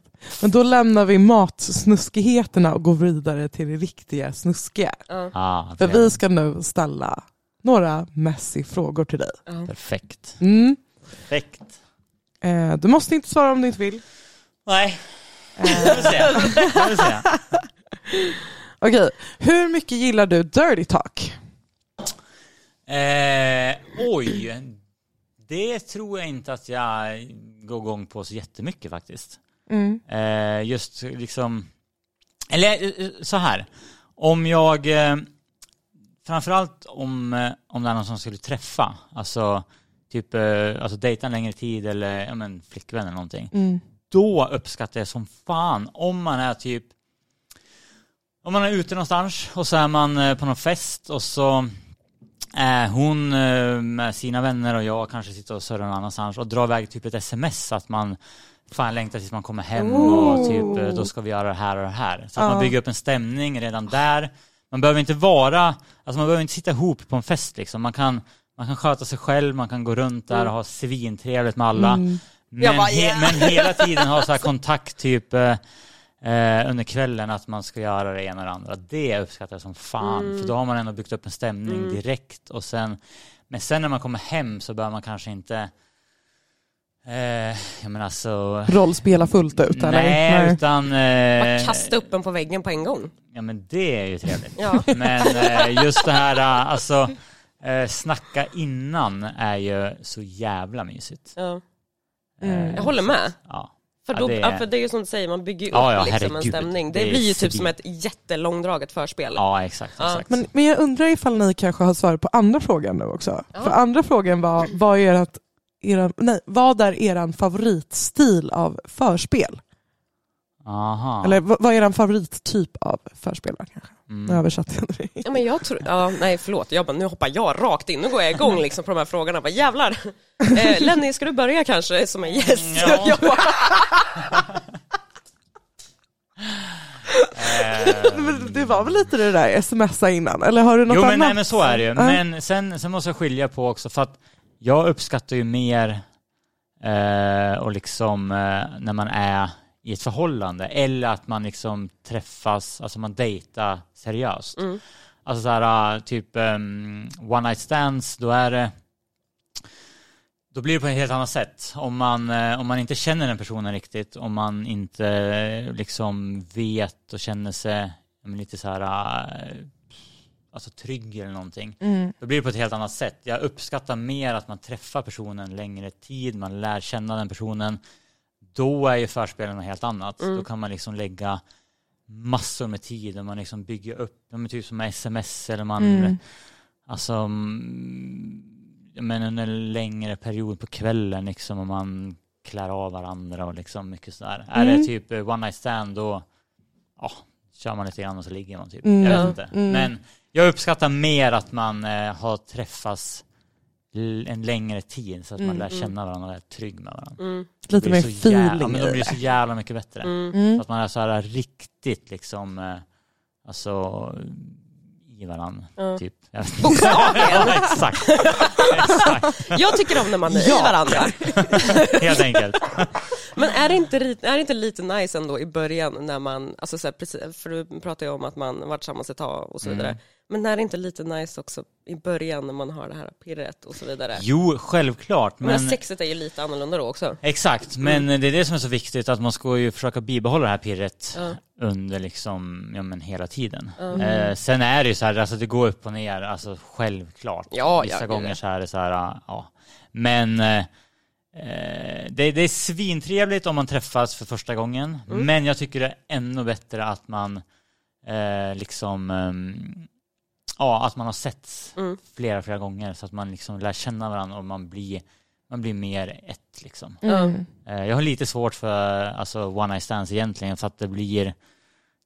Speaker 2: Men då lämnar vi matsnuskigheterna och går vidare till det riktiga snuskiga.
Speaker 3: Ja.
Speaker 4: Ah,
Speaker 2: För vi
Speaker 4: trevligt.
Speaker 2: ska nu ställa några Messi-frågor till dig.
Speaker 4: Eh.
Speaker 3: Ja.
Speaker 4: Perfekt.
Speaker 2: Mm.
Speaker 4: Perfekt.
Speaker 2: Eh, du måste inte svara om du inte vill.
Speaker 4: Nej,
Speaker 2: Eh,
Speaker 4: det vill säga. Det vill säga.
Speaker 2: Okej, hur mycket gillar du dirty talk?
Speaker 4: Eh, oj, det tror jag inte att jag går igång på så jättemycket faktiskt.
Speaker 2: Mm.
Speaker 4: Eh, just liksom, eller eh, så här, om jag, eh, framförallt om, eh, om det är någon som skulle träffa, alltså typ eh, alltså dejta en längre tid eller ja, men, flickvän eller någonting,
Speaker 2: Mm.
Speaker 4: då uppskattar jag som fan om man är typ om man är ute någonstans och så är man eh, på någon fest och så är hon eh, med sina vänner och jag kanske sitter och surrar någon annanstans och drar iväg typ ett sms att man fan längtar tills man kommer hem och typ eh, då ska vi göra det här och det här. Så att man
Speaker 2: Ja.
Speaker 4: bygger upp en stämning redan där. Man behöver inte vara, alltså man behöver inte sitta ihop på en fest liksom. Man kan, man kan sköta sig själv, man kan gå runt där och ha svintrevligt med alla. Men,
Speaker 3: Mm. Jag bara,
Speaker 4: he-
Speaker 3: yeah.
Speaker 4: men hela tiden ha så här kontakt typ eh, eh, under kvällen att man ska göra det ena och det andra. Det uppskattar jag som fan.
Speaker 3: Mm.
Speaker 4: För då har man ändå byggt upp en stämning direkt. Och sen, men sen när man kommer hem så bör man kanske inte eh, jag menar alltså, så...
Speaker 2: Rollspela fullt ut eller?
Speaker 4: Nej, utan...
Speaker 3: Bara
Speaker 4: Eh,
Speaker 3: kasta upp den på väggen på en gång.
Speaker 4: ja men det är ju trevligt.
Speaker 3: Ja.
Speaker 4: Men eh, just det här, eh, alltså eh, snacka innan är ju så jävla mysigt.
Speaker 3: Ja.
Speaker 2: Mm.
Speaker 3: Jag håller med.
Speaker 4: Ja.
Speaker 3: För,
Speaker 4: Ja,
Speaker 3: då,
Speaker 4: det
Speaker 3: det
Speaker 4: är-
Speaker 3: är... Ja, för det är ju som du säger, man bygger ju upp
Speaker 4: Ja, ja,
Speaker 3: liksom en
Speaker 4: herregud.
Speaker 3: stämning. Det,
Speaker 4: Det är
Speaker 3: blir ju typ
Speaker 4: svin.
Speaker 3: som ett jättelångdraget förspel.
Speaker 4: Ja, exakt.
Speaker 3: Ja.
Speaker 4: exakt.
Speaker 2: Men, men jag undrar ifall ni kanske har svarat på andra frågan nu också.
Speaker 3: Ja.
Speaker 2: För andra frågan var, vad är, ert, era, nej, vad är eran favoritstil av förspel?
Speaker 4: Aha.
Speaker 2: Eller vad, vad är eran favorittyp av förspel? då, Kanske?
Speaker 4: Mm.
Speaker 2: Nu översatte jag det.
Speaker 3: Ja, men jag tror, ja, nej förlåt, jag bara, nu hoppar jag rakt in, nu går jag igång liksom på de här frågorna. Bara, jävlar! Eh, Lenny, ska du börja kanske som en gäst?
Speaker 4: Mm, ja.
Speaker 3: Jag bara,
Speaker 4: Eh,
Speaker 2: Men Det var väl lite det där smsa innan, eller har du något
Speaker 4: Jo men,
Speaker 2: annat?
Speaker 4: nej, men så är det ju.
Speaker 2: Ja.
Speaker 4: Men sen, sen måste jag skilja på också för att jag uppskattar ju mer eh, och liksom eh, när man är i ett förhållande eller att man liksom träffas, alltså man dejtar seriöst.
Speaker 3: Mm.
Speaker 4: Alltså så här eh, typ ehm, one night stands, då är det då blir det på ett helt annat sätt. Om man, eh, om man inte känner den personen riktigt, om man inte eh, liksom vet och känner sig ja, men lite så här eh, alltså trygg eller någonting.
Speaker 2: Mm.
Speaker 4: Då blir det på ett helt annat sätt. Jag uppskattar mer att man träffar personen längre tid, man lär känna den personen. Då är ju förspelen något helt annat.
Speaker 2: Mm.
Speaker 4: Då kan man liksom lägga massor med tid och man liksom bygger upp, ja, men typ som med sms eller man,
Speaker 2: Mm.
Speaker 4: alltså, mm, men under en längre period på kvällen liksom och man klär av varandra och liksom mycket sådär. Är det
Speaker 2: Mm.
Speaker 4: typ eh, one night stand då, ja, kör man lite grann och så ligger man typ.
Speaker 2: Mm.
Speaker 4: Jag
Speaker 3: Ja.
Speaker 4: vet inte.
Speaker 2: Mm.
Speaker 4: Men jag uppskattar mer att man eh, har träffats l- en längre tid så att man
Speaker 2: Mm.
Speaker 4: lär känna varandra och är trygg med varandra.
Speaker 3: mm,
Speaker 4: Det
Speaker 2: Lite mer
Speaker 4: blir så jävla-
Speaker 2: feeling
Speaker 4: ja, men
Speaker 2: i
Speaker 4: då blir det
Speaker 2: det.
Speaker 4: så jävla mycket bättre.
Speaker 3: mm,
Speaker 2: Mm.
Speaker 4: Så att man är så här riktigt liksom, eh, alltså i varandra.
Speaker 3: ja.
Speaker 4: Typ. Jag vet inte.
Speaker 3: Bokstavligen.
Speaker 4: ja, exakt. exakt.
Speaker 3: Jag tycker om när man är i
Speaker 2: Ja.
Speaker 3: varandra.
Speaker 4: Helt enkelt.
Speaker 3: Men är det, inte, ri- är det inte lite nice ändå i början när man, alltså så här, precis, för du pratar ju om att man varit tillsammans ett tag och så vidare.
Speaker 4: Mm.
Speaker 3: Men är det inte lite nice också i början när man har det här pirret och så vidare?
Speaker 4: Jo, självklart.
Speaker 3: Men
Speaker 4: Men,
Speaker 3: sexet är ju lite annorlunda då också. Mm.
Speaker 4: exakt, men det är det som är så viktigt att man ska ju försöka bibehålla det här pirret
Speaker 3: Ja.
Speaker 4: under liksom, ja men hela tiden. Eh, sen är det ju så här, alltså det går upp och ner, alltså självklart.
Speaker 3: Ja,
Speaker 4: Vissa
Speaker 3: ja, gud,
Speaker 4: gånger
Speaker 3: ja.
Speaker 4: så är det så här, ah, ja. Men eh, eh, det, det är svintrevligt om man träffas för första gången.
Speaker 3: Mm.
Speaker 4: Men jag tycker det är ännu bättre att man eh, liksom, ehm, ja att man har sett
Speaker 3: Mm.
Speaker 4: flera, flera gånger så att man liksom lär känna varandra och man blir, man blir mer ett liksom.
Speaker 2: Mm.
Speaker 4: Eh, Jag har lite svårt för alltså, one night stands egentligen för att det blir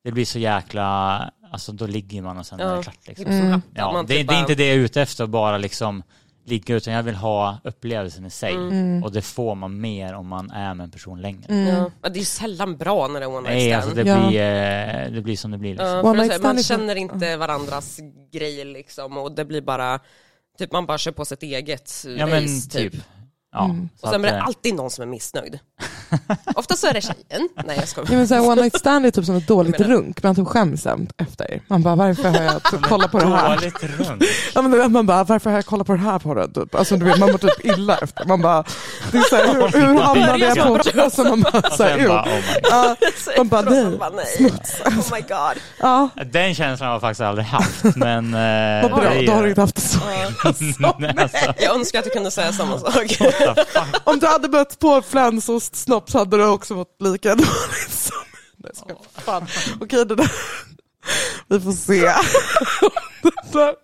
Speaker 4: det blir så jäkla, alltså då ligger man och sen är
Speaker 3: Ja.
Speaker 4: det klart liksom.
Speaker 2: Mm.
Speaker 3: Som happar
Speaker 4: Ja,
Speaker 3: man
Speaker 4: det,
Speaker 3: typ
Speaker 4: det är
Speaker 3: bara-
Speaker 4: inte det jag är ute efter, bara liksom ligga utan jag vill ha upplevelsen i sig.
Speaker 3: Mm.
Speaker 2: Mm.
Speaker 4: Och det får man mer om man är med en person längre.
Speaker 2: Mm.
Speaker 3: Ja. Ja, Det är ju sällan bra när det är one night
Speaker 4: Nej,
Speaker 3: stand.
Speaker 4: alltså det,
Speaker 2: Ja.
Speaker 4: blir, eh, det blir som det blir. Liksom.
Speaker 3: Ja,
Speaker 2: One
Speaker 3: för det är
Speaker 2: night
Speaker 3: så här, man
Speaker 2: stand Mm. är-
Speaker 3: känner inte varandras grejer liksom och det blir bara, typ man bara kör på sitt eget race
Speaker 4: Ja men typ. Ja,
Speaker 2: Mm.
Speaker 4: så
Speaker 3: Och sen är
Speaker 4: att,
Speaker 3: det
Speaker 4: eh,
Speaker 3: alltid någon som är missnöjd. Ofta så är det tjejen. Nej jag skojar.
Speaker 2: Ja, men så här, one night stand är typ som ett dåligt
Speaker 3: Jag menar-
Speaker 2: runk, man typ skäms sen efter. Man bara varför har jag typ kollat på det här?
Speaker 4: Dåligt runt.
Speaker 2: Ja, men, du vet, man bara varför har jag kollat på det här porren? Typ. Alltså, du vet, man mår typ illa efter. Man bara, det är så här, hur, hur hamnade jag på... Alltså, man bara,
Speaker 4: Och
Speaker 2: så här,
Speaker 4: sen bara,
Speaker 2: "Ew."
Speaker 4: oh my God.
Speaker 2: Ja,
Speaker 3: Så
Speaker 2: Man bara,
Speaker 3: efteråt,
Speaker 2: nej,
Speaker 3: man bara, nej. Oh my god.
Speaker 2: ja.
Speaker 4: Den känslan har jag faktiskt aldrig haft. Men, eh,
Speaker 2: Vad bra,
Speaker 4: det är-
Speaker 2: då har du inte haft det så.
Speaker 4: Nej, alltså,
Speaker 3: Jag önskar att jag kunde säga samma sak.
Speaker 4: what the fuck?
Speaker 2: Om du hade bött på flänsost snopp så hade du också varit lika dålig som... Nej, jag skojar. Fan. Okej, det där... Vi får se. Det där-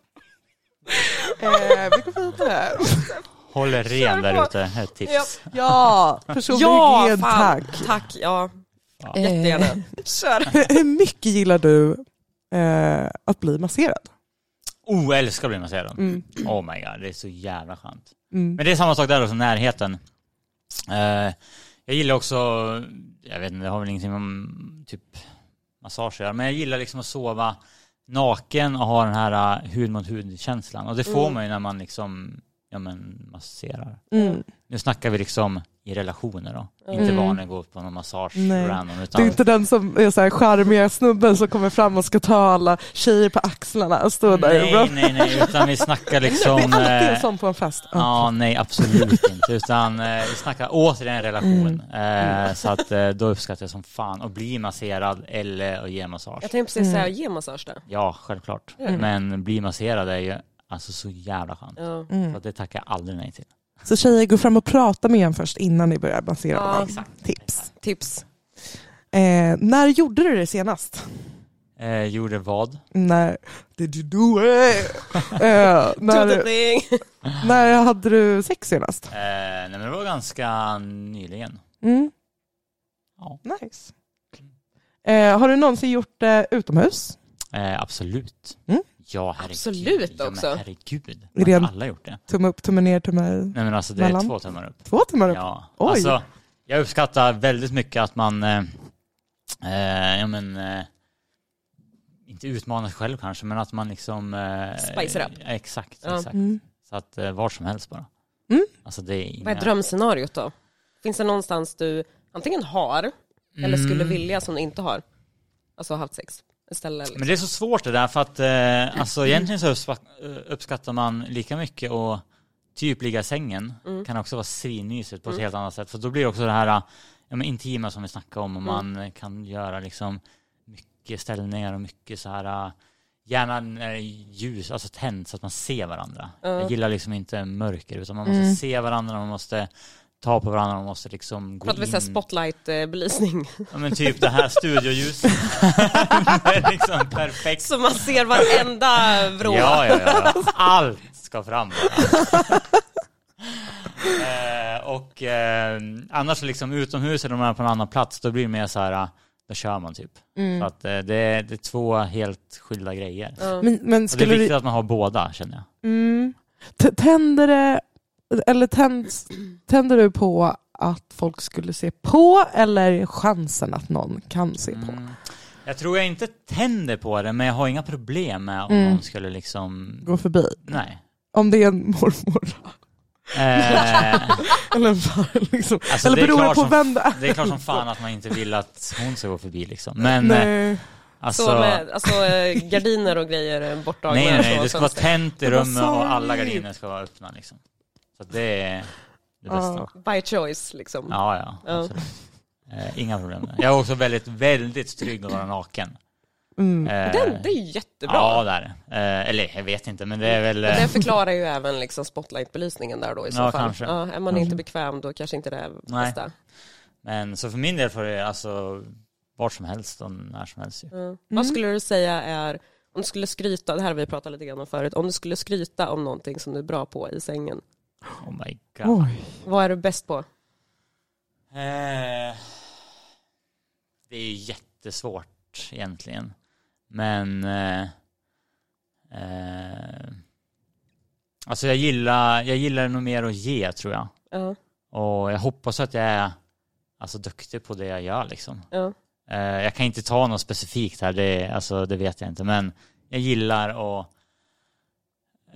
Speaker 2: Eh, vi går vidare.
Speaker 4: Håll er ren där ute, ett
Speaker 3: Ja.
Speaker 4: tips.
Speaker 2: Ja, personlig
Speaker 3: Ja,
Speaker 2: hygien,
Speaker 3: fan.
Speaker 2: tack.
Speaker 3: Tack, ja.
Speaker 4: Ja.
Speaker 3: Jättegärna.
Speaker 4: Eh.
Speaker 3: Kör.
Speaker 2: Hur, hur mycket gillar du eh, att bli masserad?
Speaker 4: Oh, jag älskar att bli masserad.
Speaker 2: Mm.
Speaker 4: Oh my god, det är så jävla skönt.
Speaker 2: Mm.
Speaker 4: Men det är samma sak där också, närheten. Eh, jag gillar också, jag vet inte, det har väl ingenting om typ massage att göra, men jag gillar liksom att sova naken och ha den här eh, hud mot hud-känslan. Och det får
Speaker 3: Mm.
Speaker 4: man ju när man liksom, ja men masserar.
Speaker 2: Mm.
Speaker 4: Nu snackar vi liksom i relationer då,
Speaker 3: Mm.
Speaker 4: inte vanligt gå på någon massage
Speaker 2: Nej.
Speaker 4: random
Speaker 2: Det
Speaker 4: utan
Speaker 2: är inte den som är så här charmiga snubben som kommer fram och ska ta alla tjejer på axlarna och stå där.
Speaker 4: Nej, nej, nej, utan vi snackar liksom...
Speaker 2: det är alltid
Speaker 4: eh,
Speaker 2: en sån på en fest.
Speaker 4: Ja, nej absolut inte. Utan eh, vi snackar återigen relation. Eh, så att eh, då uppskattar jag som fan att bli masserad eller att ge massage.
Speaker 3: Jag tänkte precis
Speaker 4: Mm.
Speaker 3: säga, ge massage där.
Speaker 4: Ja, självklart.
Speaker 3: Mm.
Speaker 4: Men bli masserad är ju alltså så jävla skönt.
Speaker 3: Ja.
Speaker 2: Mm.
Speaker 4: Så att det tackar jag aldrig nej till.
Speaker 2: Så tjejer, gå fram och prata med en först innan ni börjar basera
Speaker 3: Ja,
Speaker 2: ja,
Speaker 4: exakt.
Speaker 2: Tips.
Speaker 3: Tips.
Speaker 2: Eh, när gjorde du det senast?
Speaker 4: Eh, gjorde vad?
Speaker 2: När... Did you do it? eh, när,
Speaker 3: Tutting.
Speaker 2: när hade du sex senast?
Speaker 4: Eh, nej men det var ganska nyligen.
Speaker 2: Mm.
Speaker 4: Ja.
Speaker 2: Nice. Eh, har du någonsin gjort det utomhus?
Speaker 4: Eh, absolut.
Speaker 2: Mm.
Speaker 4: Ja, herregud.
Speaker 3: Absolut
Speaker 4: ja, men
Speaker 3: också.
Speaker 4: herregud.
Speaker 2: Är det en-
Speaker 4: Har alla gjort det?
Speaker 2: Tumme upp, tumme ner, tumme...
Speaker 4: Nej men alltså det
Speaker 2: Mellan?
Speaker 4: är två tummar upp.
Speaker 2: Två tummar upp?
Speaker 4: Ja,
Speaker 2: Oj.
Speaker 4: alltså jag uppskattar väldigt mycket att man, eh, eh, ja men, eh, inte utmanar sig själv kanske, men att man liksom... Eh,
Speaker 3: Spicer up.
Speaker 4: ja, Exakt,
Speaker 3: Ja.
Speaker 4: exakt.
Speaker 2: Mm.
Speaker 4: Så att eh, vart som helst bara.
Speaker 2: Mm.
Speaker 4: Alltså det är
Speaker 3: Vad är
Speaker 4: inga...
Speaker 3: drömscenariot då? Finns det någonstans du antingen har, eller skulle
Speaker 4: Mm.
Speaker 3: vilja som du inte har? Alltså haft sex istället. Liksom.
Speaker 4: Men det är så svårt det där för att eh, alltså egentligen så uppsva- eh, uppskattar man lika mycket och typ ligga i sängen
Speaker 3: Mm.
Speaker 4: kan också vara svinmysigt på ett
Speaker 3: Mm.
Speaker 4: helt annat sätt. För då blir det också det här eh, ja, men intima som vi snackade om och
Speaker 3: Mm.
Speaker 4: man eh, kan göra liksom mycket ställningar och mycket så här eh, gärna när det är ljus, alltså tänt så att man ser varandra.
Speaker 3: Ja.
Speaker 4: Jag gillar liksom inte mörker utan man måste
Speaker 2: Mm.
Speaker 4: se varandra, man måste ta på varandra, man måste liksom gå
Speaker 3: Pratar vi
Speaker 4: in.
Speaker 3: såhär spotlight-belysning?
Speaker 4: Ja men typ det här studioljuset. det är liksom perfekt.
Speaker 3: Så man ser varenda vrå.
Speaker 4: Ja, ja, ja, ja. Allt ska fram. eh, och eh, annars så liksom utomhus eller om man är på en annan plats, då blir det mer så här, eh, då kör man typ.
Speaker 2: Mm.
Speaker 4: Så att eh, det, är, det är två helt skilda grejer.
Speaker 3: Ja.
Speaker 2: Men, men
Speaker 4: Och det är
Speaker 2: skulle
Speaker 4: viktigt
Speaker 2: du...
Speaker 4: att man har båda känner jag.
Speaker 2: Mm. T- Tänder det... Eller tänds, tänder du på att folk skulle se på eller chansen att någon kan se på?
Speaker 4: Mm. Jag tror jag inte tänder på det, men jag har inga problem med om
Speaker 2: Mm.
Speaker 4: någon skulle liksom...
Speaker 2: Gå förbi.
Speaker 4: Nej.
Speaker 2: Om det är en mormor
Speaker 4: Eh,
Speaker 2: eller en far, liksom.
Speaker 4: alltså,
Speaker 2: Eller
Speaker 4: det är
Speaker 2: beror det
Speaker 4: klart
Speaker 2: på
Speaker 4: som-
Speaker 2: vem det är?
Speaker 4: det är klart som fan att man inte vill att hon ska gå förbi liksom. Men eh,
Speaker 2: Nej.
Speaker 4: alltså...
Speaker 3: Så med alltså, eh, gardiner och grejer eh, bortdragna.
Speaker 4: Nej, nej, nej.
Speaker 3: så
Speaker 4: Det ska vara
Speaker 3: fönster.
Speaker 4: tänt i
Speaker 2: Men vad
Speaker 4: rummet och alla
Speaker 2: sorgligt.
Speaker 4: gardiner ska vara öppna liksom. Så att det är det bästa.
Speaker 2: Ja.
Speaker 3: By choice liksom.
Speaker 4: Ja, ja.
Speaker 3: Ja.
Speaker 4: absolut. Eh, inga problem med det. Jag är också väldigt, väldigt trygg att vara naken.
Speaker 2: Mm.
Speaker 4: Eh,
Speaker 3: Den, det är ju jättebra.
Speaker 4: Ja, det är det. Eh, eller jag vet inte, men det är väl...
Speaker 3: Och
Speaker 4: eh,
Speaker 3: det förklarar ju även liksom spotlight-belysningen där då i så
Speaker 4: Ja,
Speaker 3: fall.
Speaker 4: kanske.
Speaker 3: Ja, är man
Speaker 4: Kanske.
Speaker 3: inte bekväm då kanske inte det är
Speaker 4: Nej.
Speaker 3: bästa.
Speaker 4: Men så för min del får det alltså vart som helst och när som helst ju.
Speaker 3: Ja. Vad skulle du säga är, om du skulle skryta, det här har vi pratat lite grann om förut, om du skulle skryta om någonting som du är bra på i sängen,
Speaker 4: Oh my god.
Speaker 2: Oj.
Speaker 3: vad är du bäst på?
Speaker 4: Eh, det är ju jättesvårt egentligen. Men... Eh, eh, Alltså jag gillar, jag gillar nog mer att ge tror jag.
Speaker 3: Ja,
Speaker 4: Och jag hoppas att jag är alltså, duktig på det jag gör liksom.
Speaker 3: ja,
Speaker 4: Eh, jag kan inte ta något specifikt här, det, alltså, det vet jag inte. Men jag gillar att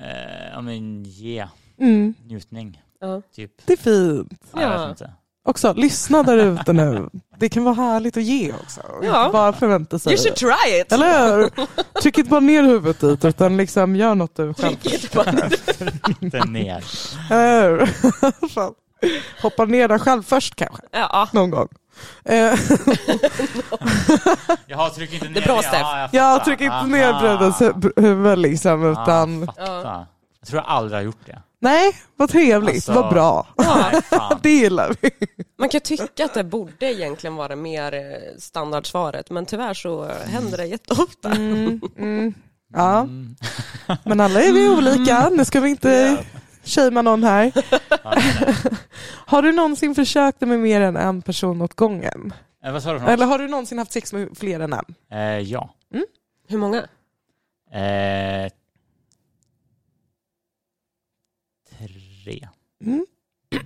Speaker 4: eh, ja, men, ge
Speaker 2: Mm.
Speaker 4: njutning,
Speaker 3: ja.
Speaker 4: typ.
Speaker 2: Det är fint.
Speaker 4: Ja. Jag
Speaker 3: Ja.
Speaker 4: vet inte.
Speaker 2: Också, lyssna där ute nu. Det kan vara härligt att ge också. Och
Speaker 3: Ja.
Speaker 2: Inte bara förvänta sig.
Speaker 3: You should try it!
Speaker 2: Eller hur? Tryck inte bara ner huvudet dit utan liksom gör något du själv
Speaker 3: Vilket man-
Speaker 4: Inte ner.
Speaker 2: Eller hur? Eh, Fan. Hoppa ner där själv först kanske,
Speaker 3: ja,
Speaker 2: någon gång. Eh,
Speaker 4: Jaha, tryck inte ner
Speaker 3: Det är bra,
Speaker 4: Ja,
Speaker 3: Steph.
Speaker 4: jag
Speaker 2: jag
Speaker 4: fattar. Ah.
Speaker 2: trycker
Speaker 4: Aha.
Speaker 2: inte ner brödens hu- huvud liksom
Speaker 4: Ah,
Speaker 2: utan,
Speaker 4: fatta. Jag tror jag aldrig har gjort det.
Speaker 2: nej vad trevligt,
Speaker 4: Alltså.
Speaker 2: vad bra.
Speaker 4: Nej, fan.
Speaker 2: Det gillar vi.
Speaker 3: man kan tycka att det borde egentligen vara mer eh, standardsvaret men tyvärr så eh, händer det jätteofta.
Speaker 2: Ja,
Speaker 4: Mm.
Speaker 2: men alla är vi olika, nu ska vi inte shamea någon här. Har du någonsin försökt det med mer än en person åt gången?
Speaker 4: Eh, vad sa du för något?
Speaker 2: Eller har du någonsin haft sex med fler än en?
Speaker 4: Eh, ja.
Speaker 3: Hur många?
Speaker 4: Eh, tre.
Speaker 2: Mm,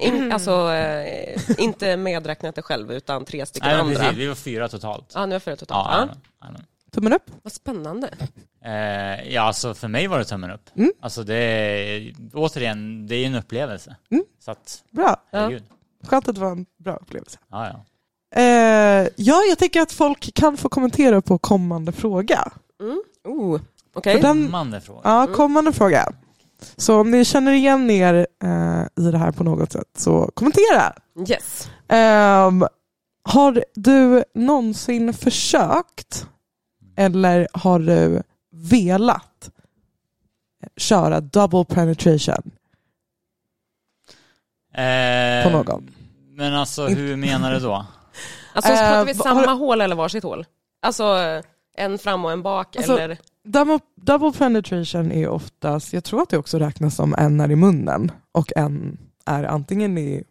Speaker 3: In, alltså, eh, inte medräknat det själv utan tre stycken
Speaker 4: Nej, men
Speaker 3: andra.
Speaker 4: precis. Vi var fyra totalt.
Speaker 3: Ja, nu har jag fyra totalt.
Speaker 4: Ja,
Speaker 3: Ja,
Speaker 4: jajamän, jajamän.
Speaker 2: Tummen upp.
Speaker 3: Vad spännande.
Speaker 4: Eh, ja, alltså för mig var det tummen upp.
Speaker 2: Mm.
Speaker 4: Alltså det är, återigen, det är ju en upplevelse.
Speaker 2: Mm.
Speaker 4: Så att,
Speaker 2: Bra,
Speaker 3: Ja.
Speaker 4: herregud.
Speaker 2: skönt att det var en bra upplevelse.
Speaker 4: Ja, ja.
Speaker 2: Eh, ja, jag tänker att folk kan få kommentera på kommande fråga.
Speaker 3: Mm. Oh, okej.
Speaker 2: För den-
Speaker 4: Man är frågan.
Speaker 2: Ja, kommande fråga. Så om ni känner igen er eh, i det här på något sätt så kommentera.
Speaker 3: Yes.
Speaker 2: Ehm, har du någonsin försökt eller har du velat köra double penetration
Speaker 4: Eh,
Speaker 2: på någon?
Speaker 4: Men alltså hur menar du då?
Speaker 3: Alltså
Speaker 2: Eh,
Speaker 3: pratar vi
Speaker 2: vad-
Speaker 3: samma
Speaker 2: har
Speaker 3: hål eller varsitt hål? Alltså eh, en fram och en bak
Speaker 2: Alltså-
Speaker 3: eller?
Speaker 2: Double, double penetration är oftast, jag tror att det också räknas som en är i munnen och en är antingen i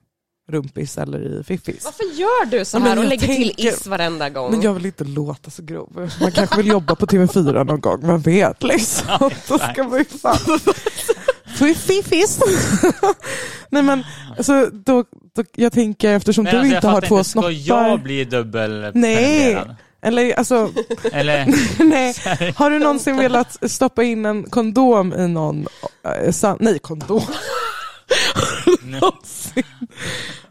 Speaker 2: rumpis eller i fiffis.
Speaker 3: Varför gör du så
Speaker 2: Ja, men
Speaker 3: här och
Speaker 2: jag
Speaker 3: lägger till
Speaker 2: tänker-
Speaker 3: is varenda gång?
Speaker 2: Men jag vill inte låta så grov. Man kanske vill jobba på TV4 någon gång, vem vet liksom. Då ska man ju fan... Så är fiffis. Nej men, alltså, då, då, jag tänker eftersom
Speaker 4: Men
Speaker 2: du
Speaker 4: alltså, jag
Speaker 2: inte har
Speaker 4: fattar
Speaker 2: två
Speaker 4: Ska
Speaker 2: snoppar.
Speaker 4: jag bli dubbel
Speaker 2: Nej. Eller alltså,
Speaker 4: Eller?
Speaker 2: nej. Har du någonsin velat stoppa in en kondom i någon? eh, sam- nej, kondom. Någonsin.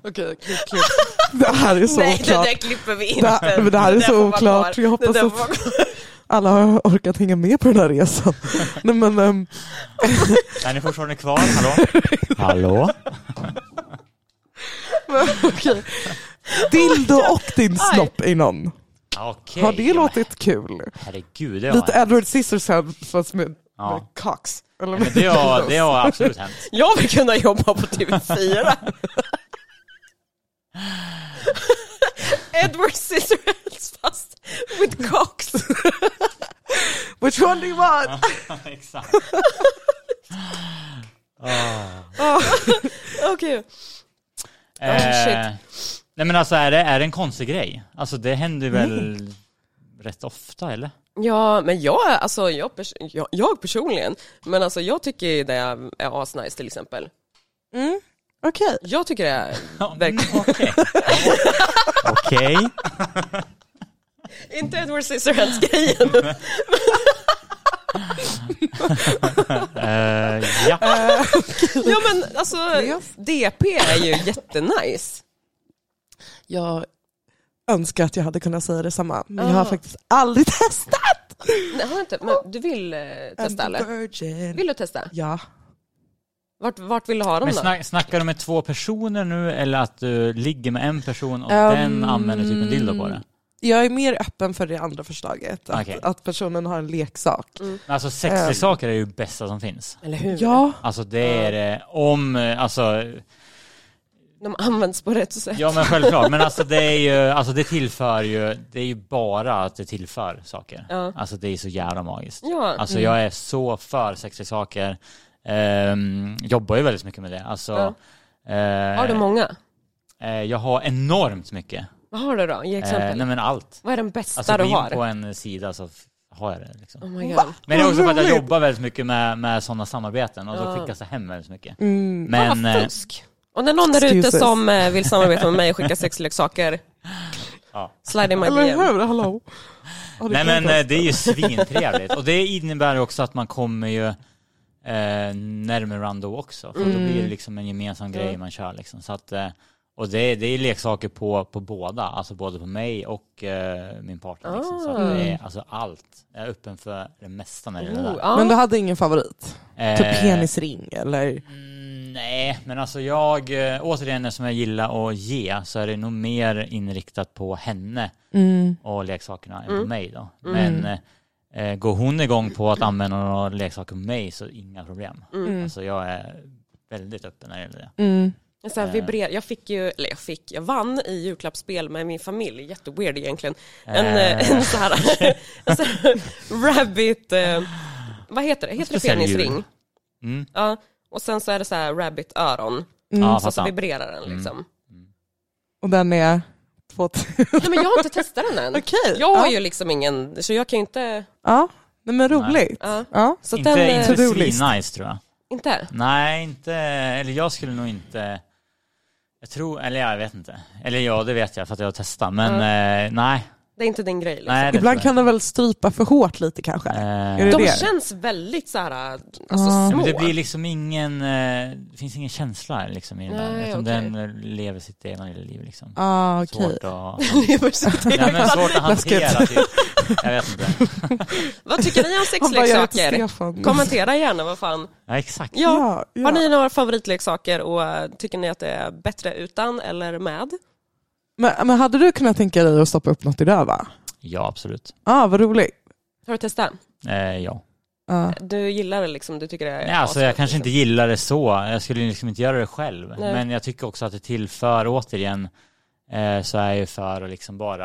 Speaker 2: Okej, klipp, klipp. Det här är så
Speaker 3: Nej,
Speaker 2: oklart.
Speaker 3: det där klipper vi
Speaker 2: Det
Speaker 3: inte.
Speaker 2: här, men det här är
Speaker 3: där får
Speaker 2: så
Speaker 3: vara kvar.
Speaker 2: oklart. Jag hoppas
Speaker 3: Det där
Speaker 2: att
Speaker 3: får vara kvar.
Speaker 2: alla har orkat hänga med på den här resan. Nej, men, ehm,
Speaker 4: Är ni fortfarande kvar? Hallå? Hallå?
Speaker 2: okej. Dildo och din snopp i någon.
Speaker 4: Okej.
Speaker 2: Har det låtit kul?
Speaker 4: Herregud, det har
Speaker 2: Lite
Speaker 4: hänt.
Speaker 2: Edward Scissorhands fast med,
Speaker 4: Ja.
Speaker 2: med Cox. Eller
Speaker 4: Men det har, det har absolut hänt.
Speaker 3: Jag vill kunna jobba på typ TV4. Edward Scissorhands fast with Cox.
Speaker 2: Which one do you want?
Speaker 4: Exakt. Ah.
Speaker 3: Okej.
Speaker 4: Eh, nej men alltså är det, är det en konstig grej? Alltså det händer väl rätt ofta eller?
Speaker 3: Ja, men jag, alltså, jag, pers- jag, jag personligen, men alltså, jag tycker det är asnice till exempel.
Speaker 2: Mm. Okej.
Speaker 3: Jag tycker det är
Speaker 4: Mm,
Speaker 3: verkligen...
Speaker 4: Okej. Okej.
Speaker 3: Inte Edward Scissorhands-grejen.
Speaker 4: Eh, ja.
Speaker 3: ja men alltså,
Speaker 2: Yes.
Speaker 3: DP är ju jättenice.
Speaker 2: Jag önskar att jag hade kunnat säga detsamma, men jag
Speaker 3: Ah.
Speaker 2: har faktiskt aldrig testat.
Speaker 3: Nej, har jag inte, men du vill eh, testa
Speaker 2: I'm a
Speaker 3: eller?
Speaker 2: virgin.
Speaker 3: Vill du testa?
Speaker 2: Ja.
Speaker 3: Vart, vart vill du ha dem
Speaker 4: Men
Speaker 3: då?
Speaker 4: snack, snackar du med två personer nu eller att du ligger med en person och
Speaker 2: Ehm,
Speaker 4: den använder typ en dildo på det?
Speaker 2: Jag är mer öppen för det andra förslaget, att,
Speaker 4: Okej.
Speaker 2: att personen har en leksak.
Speaker 4: Men Alltså
Speaker 3: ehm.
Speaker 4: sexleksaker är ju det bästa som finns.
Speaker 3: Eller hur?
Speaker 2: Ja,
Speaker 4: Alltså det är det, om, eh, alltså,
Speaker 3: De används på rätt sätt.
Speaker 4: ja men självklart, men alltså det är ju, alltså det tillför ju, det är ju bara att det tillför saker.
Speaker 3: Ja. Mm.
Speaker 4: Alltså det är så jävla magiskt.
Speaker 3: Ja.
Speaker 4: Alltså jag är så för sexleksaker. Ehm, jobbar ju väldigt mycket med det. Alltså, eh,
Speaker 3: Har du många?
Speaker 4: eh, jag har enormt mycket.
Speaker 3: Vad har du då? Ge
Speaker 4: Eh,
Speaker 3: exempel.
Speaker 4: nej men allt.
Speaker 3: Vad är den bästa
Speaker 4: Alltså
Speaker 3: du
Speaker 4: gå in
Speaker 3: har?
Speaker 4: på en sida så f- har jag det liksom.
Speaker 3: Oh my god.
Speaker 2: Va?
Speaker 4: Men det är
Speaker 2: Vad
Speaker 4: också för att jag
Speaker 2: roligt.
Speaker 4: jobbar väldigt mycket med, med sådana samarbeten och
Speaker 3: Ja.
Speaker 4: då skickas det hem väldigt mycket.
Speaker 2: Mm.
Speaker 4: Men
Speaker 3: Vad
Speaker 4: eh,
Speaker 3: fusk. Om det är någon där ute
Speaker 2: Excuses.
Speaker 3: som eh, vill samarbeta med mig och skicka sexleksaker,
Speaker 4: Ja.
Speaker 3: slide in my
Speaker 2: Eller
Speaker 3: DM.
Speaker 2: hur? Hallå? Ja, det
Speaker 4: Nej
Speaker 2: kan
Speaker 4: men
Speaker 2: inte-
Speaker 4: eh, det är ju svintrevligt och det innebär ju också att man kommer ju eh, närmare Rando också för då
Speaker 2: Mm.
Speaker 4: blir det liksom en gemensam grej
Speaker 3: Ja.
Speaker 4: man kör liksom. Så att, eh, och det, det är leksaker på, på båda, alltså både på mig och eh, min partner. Liksom. Så att det är alltså allt, jag är öppen för det mesta när det gäller
Speaker 3: Ah. Oh,
Speaker 4: det
Speaker 3: ja.
Speaker 2: Men du hade ingen favorit?
Speaker 4: där.
Speaker 2: Typ
Speaker 4: Eh,
Speaker 2: penisring eller?
Speaker 4: Mm, nej, men alltså jag, eh, återigen som jag gillar att ge så är det nog mer inriktat på henne
Speaker 2: Mm.
Speaker 4: och leksakerna än på
Speaker 3: Mm.
Speaker 4: mig då.
Speaker 2: Mm.
Speaker 4: Men eh, eh, går hon igång på att använda några leksaker på mig så inga problem.
Speaker 2: Mm.
Speaker 4: Alltså jag är väldigt öppen när det gäller det.
Speaker 2: Mm.
Speaker 3: Så här, vibrer. Jag fick ju, eller jag fick, jag vann i julklappsspel med min familj, jätteweird egentligen. En, eh, en så här, en så här rabbit, eh, vad heter det? Heter det
Speaker 4: Speciell jul.
Speaker 3: penisring?
Speaker 4: Mm.
Speaker 3: Ja. Och sen så är det så här rabbit-öron,
Speaker 2: Mm.
Speaker 4: Ja, Mm.
Speaker 3: så, så
Speaker 4: fattar.
Speaker 3: vibrerar den liksom.
Speaker 2: Och den är två...
Speaker 3: Nej men jag har inte testat den än.
Speaker 2: Okej.
Speaker 3: Jag har
Speaker 2: Ja.
Speaker 3: ju liksom ingen, så jag kan ju inte,
Speaker 2: Ja, Nej, men roligt.
Speaker 3: ja.
Speaker 2: Ja.
Speaker 3: så
Speaker 4: inte
Speaker 3: den, eh,
Speaker 4: inte
Speaker 2: to-do-list.
Speaker 4: svinnice tror jag.
Speaker 3: inte?
Speaker 4: Nej, inte, eller jag skulle nog inte jag tror, eller jag vet inte. Eller ja, det vet jag för att jag har testat. Men eh, nej.
Speaker 3: Det är inte din grej liksom.
Speaker 4: nej det
Speaker 2: Ibland
Speaker 4: tror jag
Speaker 2: kan den väl strypa för hårt lite kanske?
Speaker 4: inte. Eh,
Speaker 2: Är det
Speaker 3: De
Speaker 2: det?
Speaker 3: känns väldigt så här, alltså
Speaker 2: Ja.
Speaker 4: Ja,
Speaker 3: små.
Speaker 4: men det blir liksom ingen, eh, det finns ingen känsla liksom i den där.
Speaker 3: Nej,
Speaker 4: Utan
Speaker 3: okej.
Speaker 4: den eh, lever sitt egna lilla liv liksom.
Speaker 2: Ah, okej.
Speaker 4: Svårt att,
Speaker 3: Lever sitt eget-
Speaker 4: ja, men svårt att
Speaker 2: Läskigt.
Speaker 4: hantera typ. Jag vet inte.
Speaker 3: Vad tycker ni om
Speaker 2: Han bara, jag heter
Speaker 3: sexleksaker?
Speaker 2: Stefan.
Speaker 3: Kommentera gärna, vad fan.
Speaker 4: Ja exakt.
Speaker 3: Ja.
Speaker 2: ja.
Speaker 3: Har ni några favoritleksaker och eh, tycker ni att det är bättre utan eller med?
Speaker 2: Men, men hade du kunnat tänka dig att stoppa upp något i röva?
Speaker 4: Ja absolut.
Speaker 2: Ja, ah, vad roligt.
Speaker 3: Har du testat?
Speaker 4: Eh, ja.
Speaker 2: Ja.
Speaker 3: Du gillar det liksom, du tycker det är liksom.
Speaker 4: Nej, alltså
Speaker 3: asfett,
Speaker 4: jag kanske inte gillar det så. Jag skulle liksom inte göra det själv.
Speaker 3: Nej.
Speaker 4: Men jag tycker också att det tillför, återigen, eh, så är jag ju för att liksom bara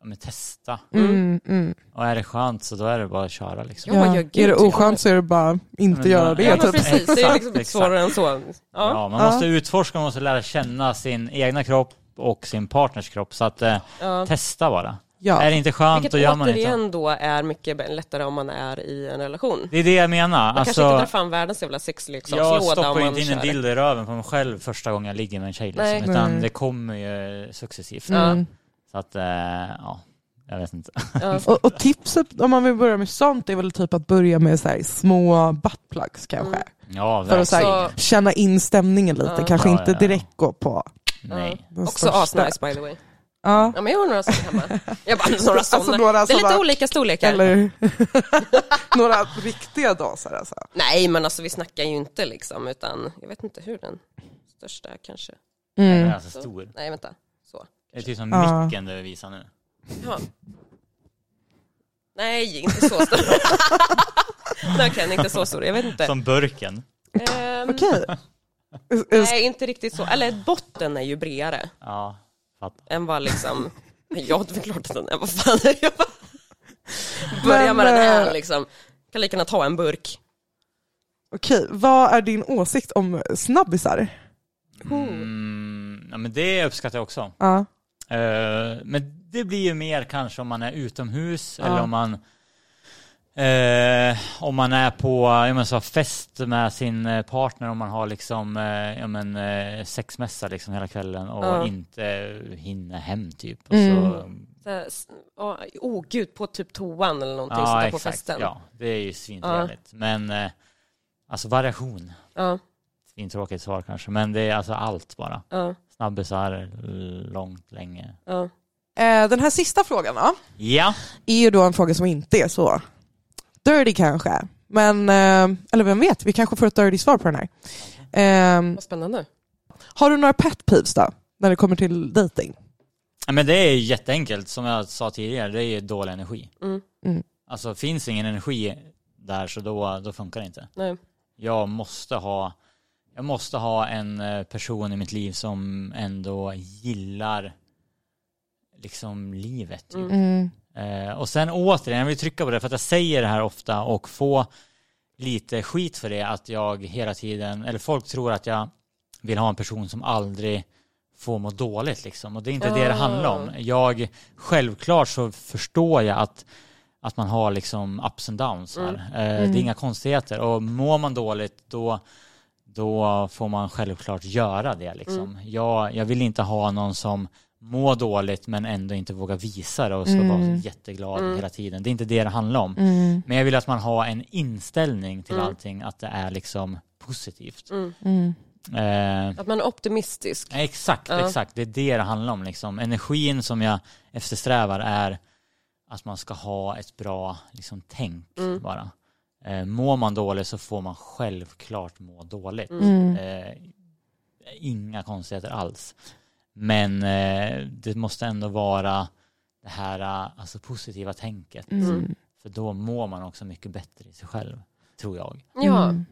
Speaker 4: ja, men testa.
Speaker 2: Mm, mm.
Speaker 4: Och är det skönt så då är det bara att köra liksom.
Speaker 3: Ja, ja, gud,
Speaker 2: är det
Speaker 3: ja.
Speaker 2: oskönt så är det bara inte
Speaker 4: Men
Speaker 2: göra
Speaker 4: då-
Speaker 2: det.
Speaker 3: Ja, men
Speaker 4: typ.
Speaker 3: precis, det är liksom
Speaker 4: Exakt,
Speaker 3: inte svårare än så. Ja.
Speaker 4: Ja, man
Speaker 2: Ja.
Speaker 4: måste utforska, man måste lära känna sin egna kropp och sin partners kropp. Så att eh,
Speaker 3: Ja.
Speaker 4: testa bara.
Speaker 2: Ja.
Speaker 4: Är det inte skönt
Speaker 3: Vilket
Speaker 4: då gör man inte.
Speaker 3: återigen då är mycket bä- lättare om man är i en relation. Man
Speaker 4: Det är det jag menar.
Speaker 3: kanske inte
Speaker 4: Alltså,
Speaker 3: drar fram världens jävla
Speaker 4: jag
Speaker 3: sexleksakslåda om
Speaker 4: stoppar ju
Speaker 3: man
Speaker 4: inte in en
Speaker 3: kör.
Speaker 4: dildo i röven på mig själv första gången jag ligger med en tjej. Liksom,
Speaker 3: Nej.
Speaker 4: utan
Speaker 2: Nej.
Speaker 4: det kommer ju successivt.
Speaker 2: Mm.
Speaker 4: Så att, eh, ja, jag vet inte.
Speaker 3: Ja.
Speaker 2: Och, och tipset om man vill börja med sånt är väl typ att börja med så här, små buttplugs kanske.
Speaker 3: Mm.
Speaker 4: Ja,
Speaker 2: För att så
Speaker 4: verkligen.
Speaker 2: här, känna in stämningen lite,
Speaker 3: Ja.
Speaker 2: kanske
Speaker 4: Ja,
Speaker 2: inte
Speaker 4: ja, ja.
Speaker 2: direkt gå på
Speaker 3: Mm.
Speaker 4: Nej.
Speaker 2: den
Speaker 3: Också
Speaker 2: största.
Speaker 3: asnice by the way.
Speaker 2: Ja.
Speaker 3: Ja men jag har några sådana hemma. Jag bara, några sådana.
Speaker 2: Alltså några
Speaker 3: det är lite
Speaker 2: sådana-
Speaker 3: olika storlekar.
Speaker 2: Eller några riktiga daser alltså.
Speaker 3: Nej men alltså vi snackar ju inte liksom utan jag vet inte hur den största är, kanske.
Speaker 4: Den är
Speaker 2: Mm.
Speaker 4: alltså stor.
Speaker 3: Nej vänta, så.
Speaker 4: Det är typ som
Speaker 2: Ja.
Speaker 4: micken du visar nu.
Speaker 3: Ja. Nej inte så stor. Nej okej, inte så stor, jag vet inte.
Speaker 4: Som burken.
Speaker 3: Ehm,
Speaker 2: Okej.
Speaker 3: Nej inte riktigt så, eller botten är ju bredare
Speaker 4: Ja, fattar.
Speaker 3: än vad liksom, ja det är klart att den är, vad fan är jag bara... Börja med
Speaker 2: Men,
Speaker 3: den här
Speaker 2: eh,
Speaker 3: liksom. Kan lika gärna ta en burk.
Speaker 2: Okej, vad är din åsikt om snabbisar?
Speaker 4: Mm, ja, men det uppskattar jag också.
Speaker 2: Ja.
Speaker 4: Eh, men det blir ju mer kanske om man är utomhus
Speaker 2: Ja.
Speaker 4: eller om man eh, om man är på jag menar, så här, fest med sin eh, partner om man har liksom eh, jag men, eh, sexmässa liksom hela kvällen och
Speaker 3: Ja.
Speaker 4: inte eh, hinner hem typ. Och
Speaker 2: Mm.
Speaker 4: så,
Speaker 3: Så här, s- ja, oh gud, på typ toan eller någonting
Speaker 4: ja,
Speaker 3: sånt där på
Speaker 4: exakt.
Speaker 3: festen.
Speaker 4: Ja, det är ju svintrevligt. Men eh, alltså variation.
Speaker 3: Ja,
Speaker 4: Svintråkigt svar kanske, men det är alltså allt bara.
Speaker 3: ja,
Speaker 4: Snabbisar, långt, länge.
Speaker 3: ja.
Speaker 2: Eh, Den här sista frågan då,
Speaker 4: Ja,
Speaker 2: är ju då en fråga som inte är så dirty kanske. Men, eh, eller vem vet, vi kanske får ett dirty svar på den här. Eh,
Speaker 3: Vad spännande.
Speaker 2: Har du några pet peeves då, när det kommer till dating?
Speaker 4: men det är ju jätteenkelt. Som jag sa tidigare, det är ju dålig energi.
Speaker 3: Mm.
Speaker 2: Mm.
Speaker 4: Alltså finns ingen energi där så då, då funkar det inte.
Speaker 3: Nej.
Speaker 4: Jag måste ha jag måste ha en eh, person i mitt liv som ändå gillar liksom livet. Typ.
Speaker 3: Mm.
Speaker 4: Eh, och sen återigen, jag vill trycka på det för att jag säger det här ofta och får lite skit för det att jag hela tiden, eller folk tror att jag vill ha en person som aldrig får må dåligt liksom och det är inte det det handlar om. Jag, självklart så förstår jag att att man har liksom ups and downs. Här.
Speaker 3: Mm.
Speaker 4: Eh, Det
Speaker 2: Mm.
Speaker 4: är inga konstigheter och mår man dåligt då, då får man självklart göra det. Liksom.
Speaker 3: Mm.
Speaker 4: Jag, jag vill inte ha någon som mår dåligt men ändå inte vågar visa det och ska
Speaker 2: Mm.
Speaker 4: vara jätteglad
Speaker 3: Mm.
Speaker 4: hela tiden. Det är inte det det handlar om.
Speaker 2: Mm.
Speaker 4: Men jag vill att man har en inställning till
Speaker 3: Mm.
Speaker 4: allting att det är liksom positivt.
Speaker 3: Mm.
Speaker 2: Mm.
Speaker 4: Eh,
Speaker 3: Att man är optimistisk.
Speaker 4: Exakt,
Speaker 3: Ja.
Speaker 4: exakt. Det är det det handlar om. Liksom. Energin som jag eftersträvar är att man ska ha ett bra liksom, tänk
Speaker 3: Mm.
Speaker 4: bara. Eh, mår man dåligt så får man självklart må dåligt.
Speaker 2: Mm.
Speaker 4: Eh, inga konstigheter alls. Men eh, det måste ändå vara det här eh, alltså, positiva tänket.
Speaker 2: Mm.
Speaker 4: För då mår man också mycket bättre i sig själv, tror jag.
Speaker 3: Ja.
Speaker 2: Mm.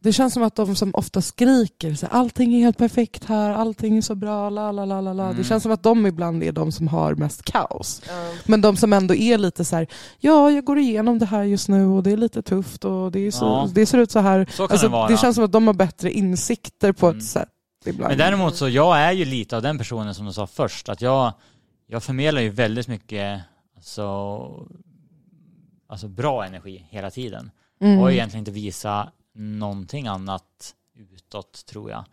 Speaker 2: Det känns som att de som ofta skriker så här, allting är helt perfekt här, allting är så bra, la la la la la.
Speaker 4: Mm.
Speaker 2: Det känns som att de ibland är de som har mest kaos.
Speaker 3: Ja.
Speaker 2: Men de som ändå är lite så här, ja jag går igenom det här just nu och det är lite tufft och det, är så,
Speaker 4: Ja.
Speaker 2: det ser ut så här.
Speaker 4: Så kan
Speaker 2: Alltså,
Speaker 4: det vara.
Speaker 2: det känns som att de har bättre insikter på
Speaker 4: Mm.
Speaker 2: ett sätt ibland.
Speaker 4: Men däremot så, jag är ju lite av den personen som du sa först, att jag, jag förmedlar ju väldigt mycket alltså, alltså bra energi hela tiden.
Speaker 2: Mm.
Speaker 4: Och egentligen inte visa någonting annat utåt tror jag.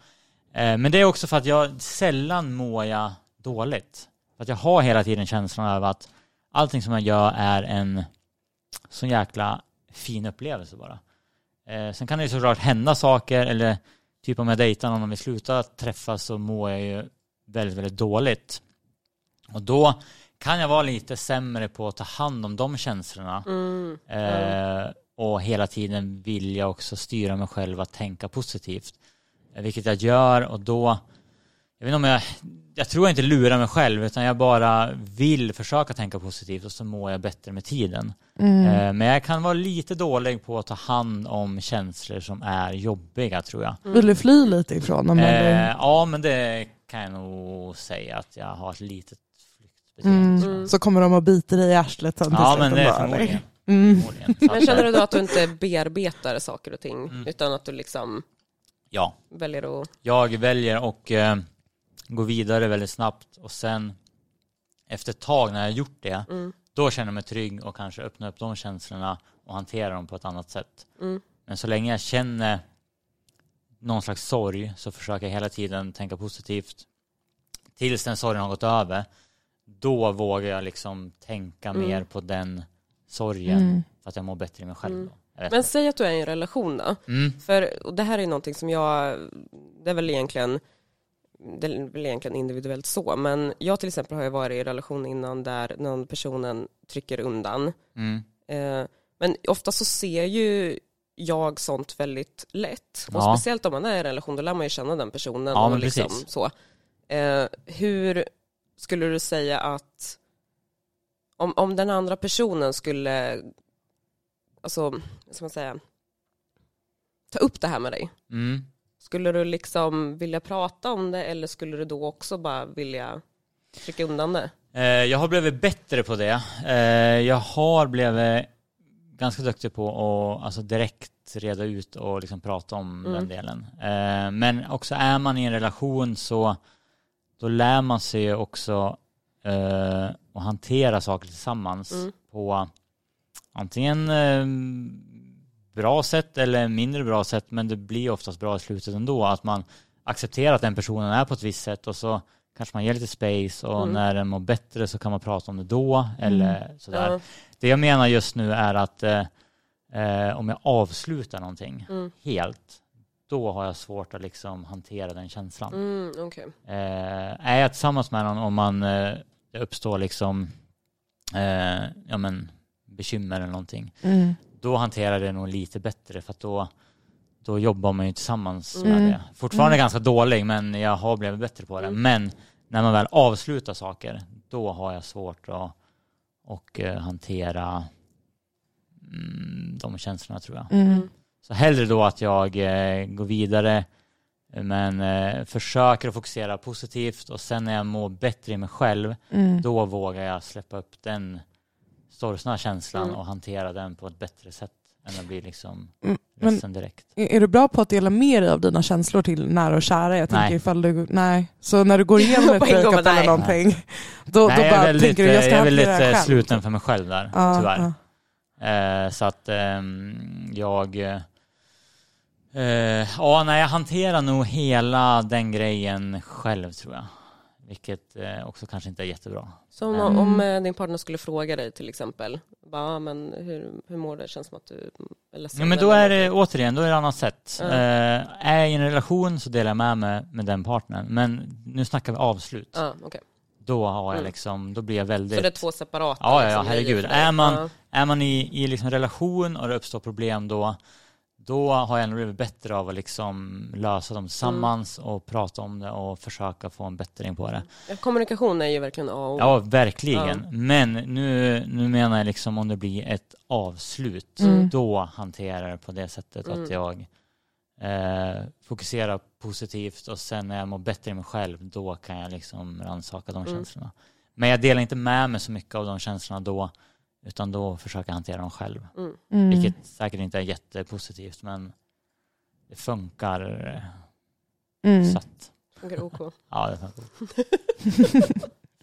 Speaker 4: Eh, Men det är också för att jag sällan mår jag dåligt. För att jag har hela tiden känslan av att allting som jag gör är en sån jäkla fin upplevelse bara. Eh, Sen kan det ju såklart hända saker eller typ om jag dejtar någon och vi slutar träffas så mår jag ju väldigt, väldigt dåligt. Och då kan jag vara lite sämre på att ta hand om de känslorna.
Speaker 3: Mm.
Speaker 4: Eh, och hela tiden vill jag också styra mig själv att tänka positivt. Eh, Vilket jag gör och då, jag vet inte om jag, jag tror jag inte lurar mig själv utan jag bara vill försöka tänka positivt och så mår jag bättre med tiden.
Speaker 2: Mm.
Speaker 4: Eh, men jag kan vara lite dålig på att ta hand om känslor som är jobbiga tror jag.
Speaker 2: Vill du fly lite ifrån dem?
Speaker 4: Eh,
Speaker 2: eller?
Speaker 4: ja men det kan jag nog säga att jag har ett litet flyktbeteende.
Speaker 2: Mm.
Speaker 4: tror jag.
Speaker 2: Så kommer de och biter dig i arslet sen till
Speaker 4: Eh. Ja
Speaker 2: slut
Speaker 4: men
Speaker 2: och
Speaker 4: det är
Speaker 2: bara,
Speaker 4: förmodligen.
Speaker 2: Mm.
Speaker 4: förmodligen. Så
Speaker 3: Men
Speaker 4: att,
Speaker 3: känner
Speaker 4: eh,
Speaker 3: du då att du inte bearbetar saker och ting
Speaker 4: Mm.
Speaker 3: utan att du liksom
Speaker 4: Ja.
Speaker 3: väljer att...
Speaker 4: jag väljer och eh, gå vidare väldigt snabbt och sen efter ett tag när jag har gjort det,
Speaker 3: Mm.
Speaker 4: då känner jag mig trygg och kanske öppnar upp de känslorna och hanterar dem på ett annat sätt.
Speaker 3: Mm.
Speaker 4: Men så länge jag känner någon slags sorg så försöker jag hela tiden tänka positivt. Tills den sorgen har gått över, då vågar jag liksom tänka
Speaker 3: Mm.
Speaker 4: mer på den sorgen
Speaker 2: Mm.
Speaker 4: för att jag mår bättre i mig själv.
Speaker 3: Mm.
Speaker 4: Då. Jag vet
Speaker 3: Men
Speaker 4: inte.
Speaker 3: säg att du är i en relation då.
Speaker 4: mm.
Speaker 3: För och det här är ju någonting som jag, det är väl egentligen, det är väl egentligen individuellt så, men jag till exempel har ju varit i en relation innan där någon personen trycker undan.
Speaker 4: Mm.
Speaker 3: Eh, Men ofta så ser ju jag sånt väldigt lätt. Och
Speaker 4: Ja.
Speaker 3: speciellt om man är i en relation, då lär man ju känna den personen.
Speaker 4: Ja,
Speaker 3: och
Speaker 4: men
Speaker 3: liksom
Speaker 4: precis.
Speaker 3: så. Eh, Hur skulle du säga att, om, om den andra personen skulle, alltså, vad ska man säga, ta upp det här med dig.
Speaker 4: Mm.
Speaker 3: Skulle du liksom vilja prata om det eller skulle du då också bara vilja trycka undan det?
Speaker 4: Eh, Jag har blivit bättre på det. Eh, Jag har blivit ganska duktig på att alltså direkt reda ut och liksom prata om
Speaker 3: Mm.
Speaker 4: den delen. Eh, Men också är man i en relation så då lär man sig ju också eh, att hantera saker tillsammans
Speaker 3: Mm.
Speaker 4: på antingen eh, bra sätt eller mindre bra sätt men det blir oftast bra i slutet ändå att man accepterar att den personen är på ett visst sätt och så kanske man ger lite space och
Speaker 3: Mm.
Speaker 4: när den mår bättre så kan man prata om det då eller sådär.
Speaker 3: Ja.
Speaker 4: Det jag menar just nu är att eh, eh, om jag avslutar någonting
Speaker 3: Mm.
Speaker 4: helt, då har jag svårt att liksom hantera den känslan.
Speaker 3: Mm, okej.
Speaker 4: Eh, är jag tillsammans med någon om man eh, det uppstår liksom eh, ja, men, bekymmer eller någonting,
Speaker 2: Mm.
Speaker 4: då hanterar jag det nog lite bättre för att då, då jobbar man ju tillsammans
Speaker 2: Mm.
Speaker 4: med det. Fortfarande
Speaker 2: Mm.
Speaker 4: ganska dålig men jag har blivit bättre på det.
Speaker 3: Mm.
Speaker 4: Men när man väl avslutar saker, då har jag svårt att och, eh, hantera mm, de känslorna tror jag.
Speaker 2: Mm.
Speaker 4: Så hellre då att jag eh, går vidare eh, men eh, försöker att fokusera positivt och sen när jag mår bättre i mig själv
Speaker 2: Mm.
Speaker 4: då vågar jag släppa upp den sorgsna känslan
Speaker 3: Mm.
Speaker 4: och hantera den på ett bättre sätt än att bli liksom
Speaker 2: Mm, men-
Speaker 4: ledsen direkt.
Speaker 2: Är är du bra på att dela med dig av dina känslor till nära och kära? Jag tänker
Speaker 4: Nej.
Speaker 2: ifall du, nej. Så när du går igenom ett
Speaker 3: På en gång,
Speaker 2: breakup
Speaker 3: nej.
Speaker 2: eller någonting, då, då
Speaker 4: Nej, jag är
Speaker 2: bara
Speaker 4: väl
Speaker 2: tänker
Speaker 4: lite,
Speaker 2: du jag ska
Speaker 4: jag är väl
Speaker 2: hantera det
Speaker 4: lite
Speaker 2: här själv.
Speaker 4: sluten för mig själv där,
Speaker 2: Ja,
Speaker 4: tyvärr.
Speaker 2: ja.
Speaker 4: Eh, så att ehm, jag... Eh, ja, nej, jag hanterar nog hela den grejen själv tror jag. Vilket eh, också kanske inte är jättebra.
Speaker 3: Så om,
Speaker 4: Mm.
Speaker 3: om eh, din partner skulle fråga dig till exempel, bara, "Ah, men hur, hur mår det? Känns som att du är ledsen.
Speaker 4: Ja, men då
Speaker 3: eller
Speaker 4: är det återigen, då är det annat sätt.
Speaker 3: Ja.
Speaker 4: Eh, är jag i en relation så delar jag med mig med den partnern. Men nu snackar vi avslut.
Speaker 3: Ja, okej.
Speaker 4: Då har jag
Speaker 3: Mm.
Speaker 4: liksom, då blir jag
Speaker 3: Så
Speaker 4: väldigt...
Speaker 3: det är två separata? liksom,
Speaker 4: Ja, ja, ja,
Speaker 3: grejer
Speaker 4: herregud.
Speaker 3: för dig.
Speaker 4: Är man-
Speaker 3: Ja.
Speaker 4: Är man i, i liksom en relation och det uppstår problem då, då har jag nog blivit bättre av att liksom lösa
Speaker 3: Mm.
Speaker 4: dem tillsammans och prata om det och försöka få en bättring på det.
Speaker 3: Ja, Kommunikation är ju verkligen A och O.
Speaker 4: Ja, verkligen.
Speaker 3: Ja.
Speaker 4: Men nu, nu menar jag liksom om det blir ett avslut,
Speaker 2: Mm.
Speaker 4: då hanterar jag det på det sättet att
Speaker 3: Mm.
Speaker 4: jag eh, fokuserar positivt och sen när jag mår bättre i mig själv, då kan jag liksom rannsaka de
Speaker 3: Mm.
Speaker 4: känslorna. Men jag delar inte med mig så mycket av de känslorna då, utan då försöker jag hantera dem själv.
Speaker 3: Mm.
Speaker 2: Mm.
Speaker 4: Vilket säkert inte är jättepositivt men det funkar eh,
Speaker 2: Mm.
Speaker 4: så att,
Speaker 3: Funkar OK.
Speaker 4: ja det funkar.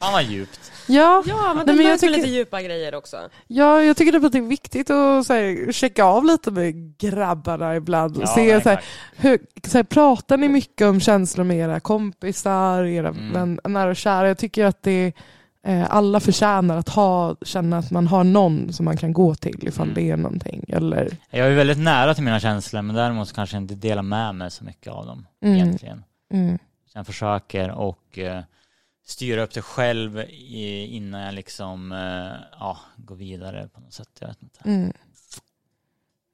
Speaker 4: Fan vad djupt.
Speaker 2: Ja,
Speaker 3: Ja, men
Speaker 2: Nej,
Speaker 3: det
Speaker 2: men jag
Speaker 3: behövs väl
Speaker 2: tycker-
Speaker 3: lite djupa grejer också.
Speaker 2: ja, jag tycker typ att det är viktigt att så här, checka av lite med grabbarna ibland.
Speaker 4: Ja,
Speaker 2: och
Speaker 4: men
Speaker 2: se, så här,
Speaker 4: exakt.
Speaker 2: hur, så här, pratar ni mycket om känslor med era kompisar, era
Speaker 4: Mm.
Speaker 2: vän, nära och kära? Jag tycker att det eh, alla förtjänar att ha, känna att man har någon som man kan gå till ifall
Speaker 4: Mm.
Speaker 2: det är någonting. Eller,
Speaker 4: Jag är väldigt nära till mina känslor men däremot så kanske jag inte delar med mig så mycket av dem
Speaker 2: mm,
Speaker 4: egentligen.
Speaker 2: mm,
Speaker 4: Jag försöker och eh, styra upp det själv i, innan jag liksom eh, ja, går vidare på något sätt. Jag vet inte.
Speaker 2: mm.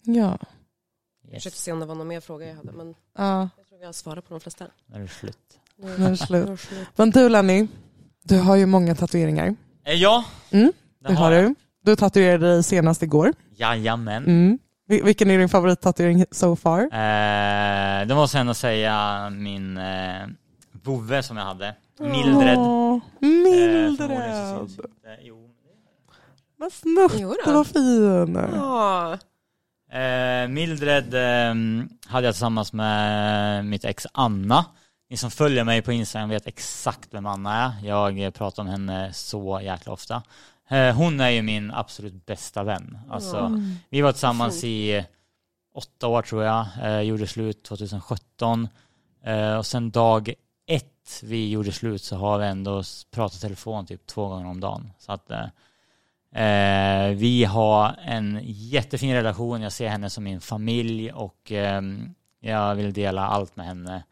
Speaker 2: Ja.
Speaker 3: Jag försökte
Speaker 4: Yes.
Speaker 3: se om det var någon mer fråga jag hade, men
Speaker 2: ja,
Speaker 3: jag tror vi har svarat på de flesta.
Speaker 4: När du slut.
Speaker 3: Nu är
Speaker 2: nu är det
Speaker 3: det-
Speaker 2: slut.
Speaker 3: nu är det slut.
Speaker 2: Men du Lenny, du har ju många tatueringar.
Speaker 4: Eh, ja,
Speaker 2: Mm,
Speaker 4: det
Speaker 2: det har
Speaker 4: jag.
Speaker 2: du. Du tatuerade dig senast igår.
Speaker 4: Jajamän.
Speaker 2: Mm. Vil- Vilken är din favorittatuering so far?
Speaker 4: Eh, det måste jag ändå säga min eh, vovve som jag hade. Mildred.
Speaker 2: Åh,
Speaker 4: Eh, förmodligen så syns
Speaker 2: Mildred!
Speaker 4: inte- jo.
Speaker 2: Vad snyggt,
Speaker 3: Jo då.
Speaker 2: vad fin!
Speaker 3: Ja,
Speaker 4: Eh, Mildred ehm, hade jag tillsammans med mitt ex Anna. Ni som följer mig på Instagram vet exakt vem Anna är. Jag eh, pratar om henne så jäkla ofta. Eh, hon är ju min absolut bästa vän. Alltså,
Speaker 3: Ja.
Speaker 2: Mm.
Speaker 4: Vi var tillsammans i eh, åtta år tror jag, eh, gjorde slut 2017 eh, och sen dag ett vi gjorde slut så har vi ändå s- pratat telefon typ två gånger om dagen. Så att eh, eh, vi har en jättefin relation, jag ser henne som min familj och ehm, jag vill dela allt med henne.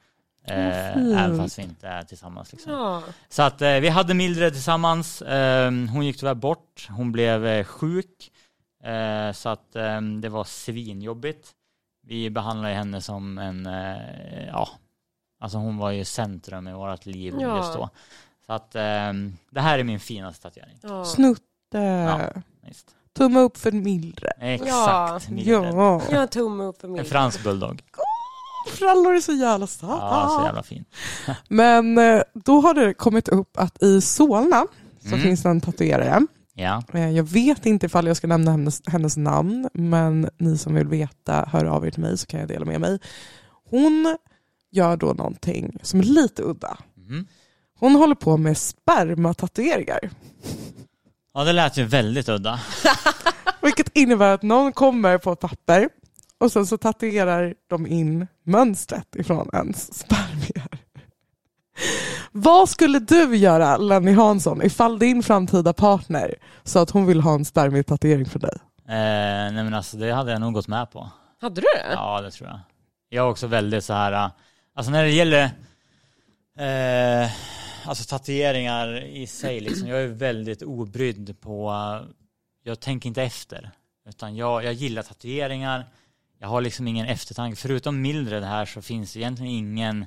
Speaker 4: Eh,
Speaker 2: Vad fint.
Speaker 4: även fast vi inte är tillsammans. Liksom.
Speaker 3: ja.
Speaker 4: Så att eh, vi hade Mildred tillsammans. Eh, hon gick tyvärr bort. Hon blev eh, sjuk. Eh, så att eh, det var svinjobbigt. Vi behandlade henne som en, eh, ja, alltså hon var ju centrum i vårt liv
Speaker 3: Ja.
Speaker 4: just då. Så att eh, det här är min finaste tatuering.
Speaker 3: ja.
Speaker 2: Snutte!
Speaker 4: Just.
Speaker 2: Tumme upp för Mildred.
Speaker 4: Exakt, Mildred.
Speaker 2: Ja,
Speaker 3: Jag har tumme upp för
Speaker 4: En
Speaker 3: min.
Speaker 4: fransk bulldog.
Speaker 2: frallor är så jävla söta.
Speaker 4: Ja, så jävla fin.
Speaker 2: Men eh, då har det kommit upp att i Solna så
Speaker 4: Mm.
Speaker 2: finns det en tatuerare.
Speaker 4: Ja,
Speaker 2: Eh, Jag vet inte ifall jag ska nämna hennes, hennes namn, men ni som vill veta, hör av er till mig så kan jag dela med mig. Hon gör då någonting som är lite udda.
Speaker 4: mm.
Speaker 2: Hon håller på med spermatatueringar,
Speaker 4: ja det lät ju väldigt udda.
Speaker 2: vilket innebär att någon kommer på ett papper och sen så tatuerar de in mönstret ifrån ens spermier. Vad skulle du göra, Lenny Hansson, ifall din framtida partner sa att hon vill ha en spermietatuering för dig?
Speaker 4: Eh, nej men alltså det hade jag nog gått med på.
Speaker 3: Hade du det?
Speaker 4: Ja, det tror jag. Jag är också väldigt så här, äh, alltså när det gäller eh, alltså tatueringar i sig, liksom, jag är väldigt obrydd på, äh, jag tänker inte efter, utan jag, jag gillar tatueringar, jag har liksom ingen eftertanke, förutom Mildred här så finns egentligen ingen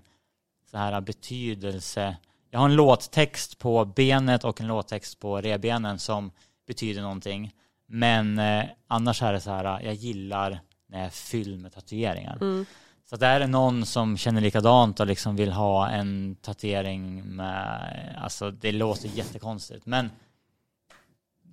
Speaker 4: så här betydelse. Jag har en låttext på benet och en låttext på revbenen som betyder någonting. Men eh, annars är det så här, jag gillar när jag är fylld med tatueringar.
Speaker 3: Mm.
Speaker 4: Så att är det någon som känner likadant och liksom vill ha en tatuering med, alltså det låter jättekonstigt men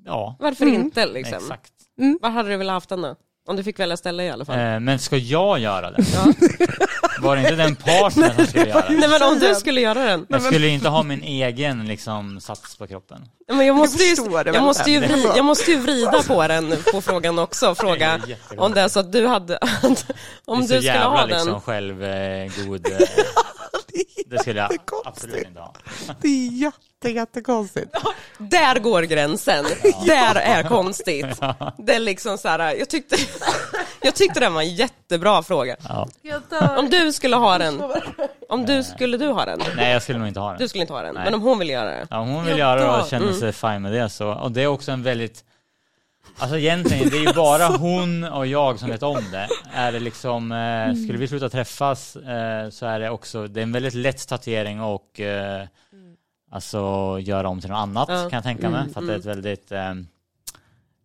Speaker 4: ja,
Speaker 3: Varför
Speaker 2: Mm.
Speaker 3: inte liksom?
Speaker 4: exakt.
Speaker 2: Mm.
Speaker 3: Var hade du velat haft den då? Om du fick välja ställe i alla fall.
Speaker 4: Eh, men ska jag göra det?
Speaker 3: Ja.
Speaker 4: Var det inte den partnern som skulle göra det?
Speaker 3: Nej men om du skulle göra den.
Speaker 4: Jag skulle inte ha min egen liksom sats på kroppen.
Speaker 3: Nej, Men jag måste ju,
Speaker 2: förstår det
Speaker 3: jag
Speaker 2: väl
Speaker 3: måste ju,
Speaker 2: sen.
Speaker 3: vri, jag måste ju vrida på den, på frågan också. Fråga
Speaker 4: Det är jättekonstigt.
Speaker 3: om det är så att du hade, om
Speaker 4: det
Speaker 3: du
Speaker 4: är så
Speaker 3: skulle
Speaker 4: jävla
Speaker 3: ha
Speaker 4: liksom
Speaker 3: den.
Speaker 4: självgod. Eh, det skulle jag absolut inte ha.
Speaker 2: Det är jätte, jättekonstigt.
Speaker 3: Där går gränsen. Där är konstigt. Det är liksom så här, jag tyckte, jag tyckte den var en jättebra fråga.
Speaker 4: Ja.
Speaker 2: Jag
Speaker 3: Om du skulle ha den, om du skulle du ha den?
Speaker 4: Nej, jag skulle nog inte ha den.
Speaker 3: Du skulle inte ha den,
Speaker 4: Nej.
Speaker 3: men om hon vill göra det.
Speaker 4: Ja, om hon
Speaker 2: Jag
Speaker 4: vill göra det
Speaker 2: dör.
Speaker 4: och känner
Speaker 3: Mm.
Speaker 4: sig fine med det så. Och det är också en väldigt, alltså egentligen det är ju bara hon och jag som vet om det. Är det liksom, eh,
Speaker 3: Mm.
Speaker 4: skulle vi sluta träffas eh, så är det också, det är en väldigt lätt tatuering och eh, alltså göra om till något annat
Speaker 3: Mm. Ja.
Speaker 4: kan jag tänka mig.
Speaker 3: Mm,
Speaker 4: För att det är ett väldigt eh,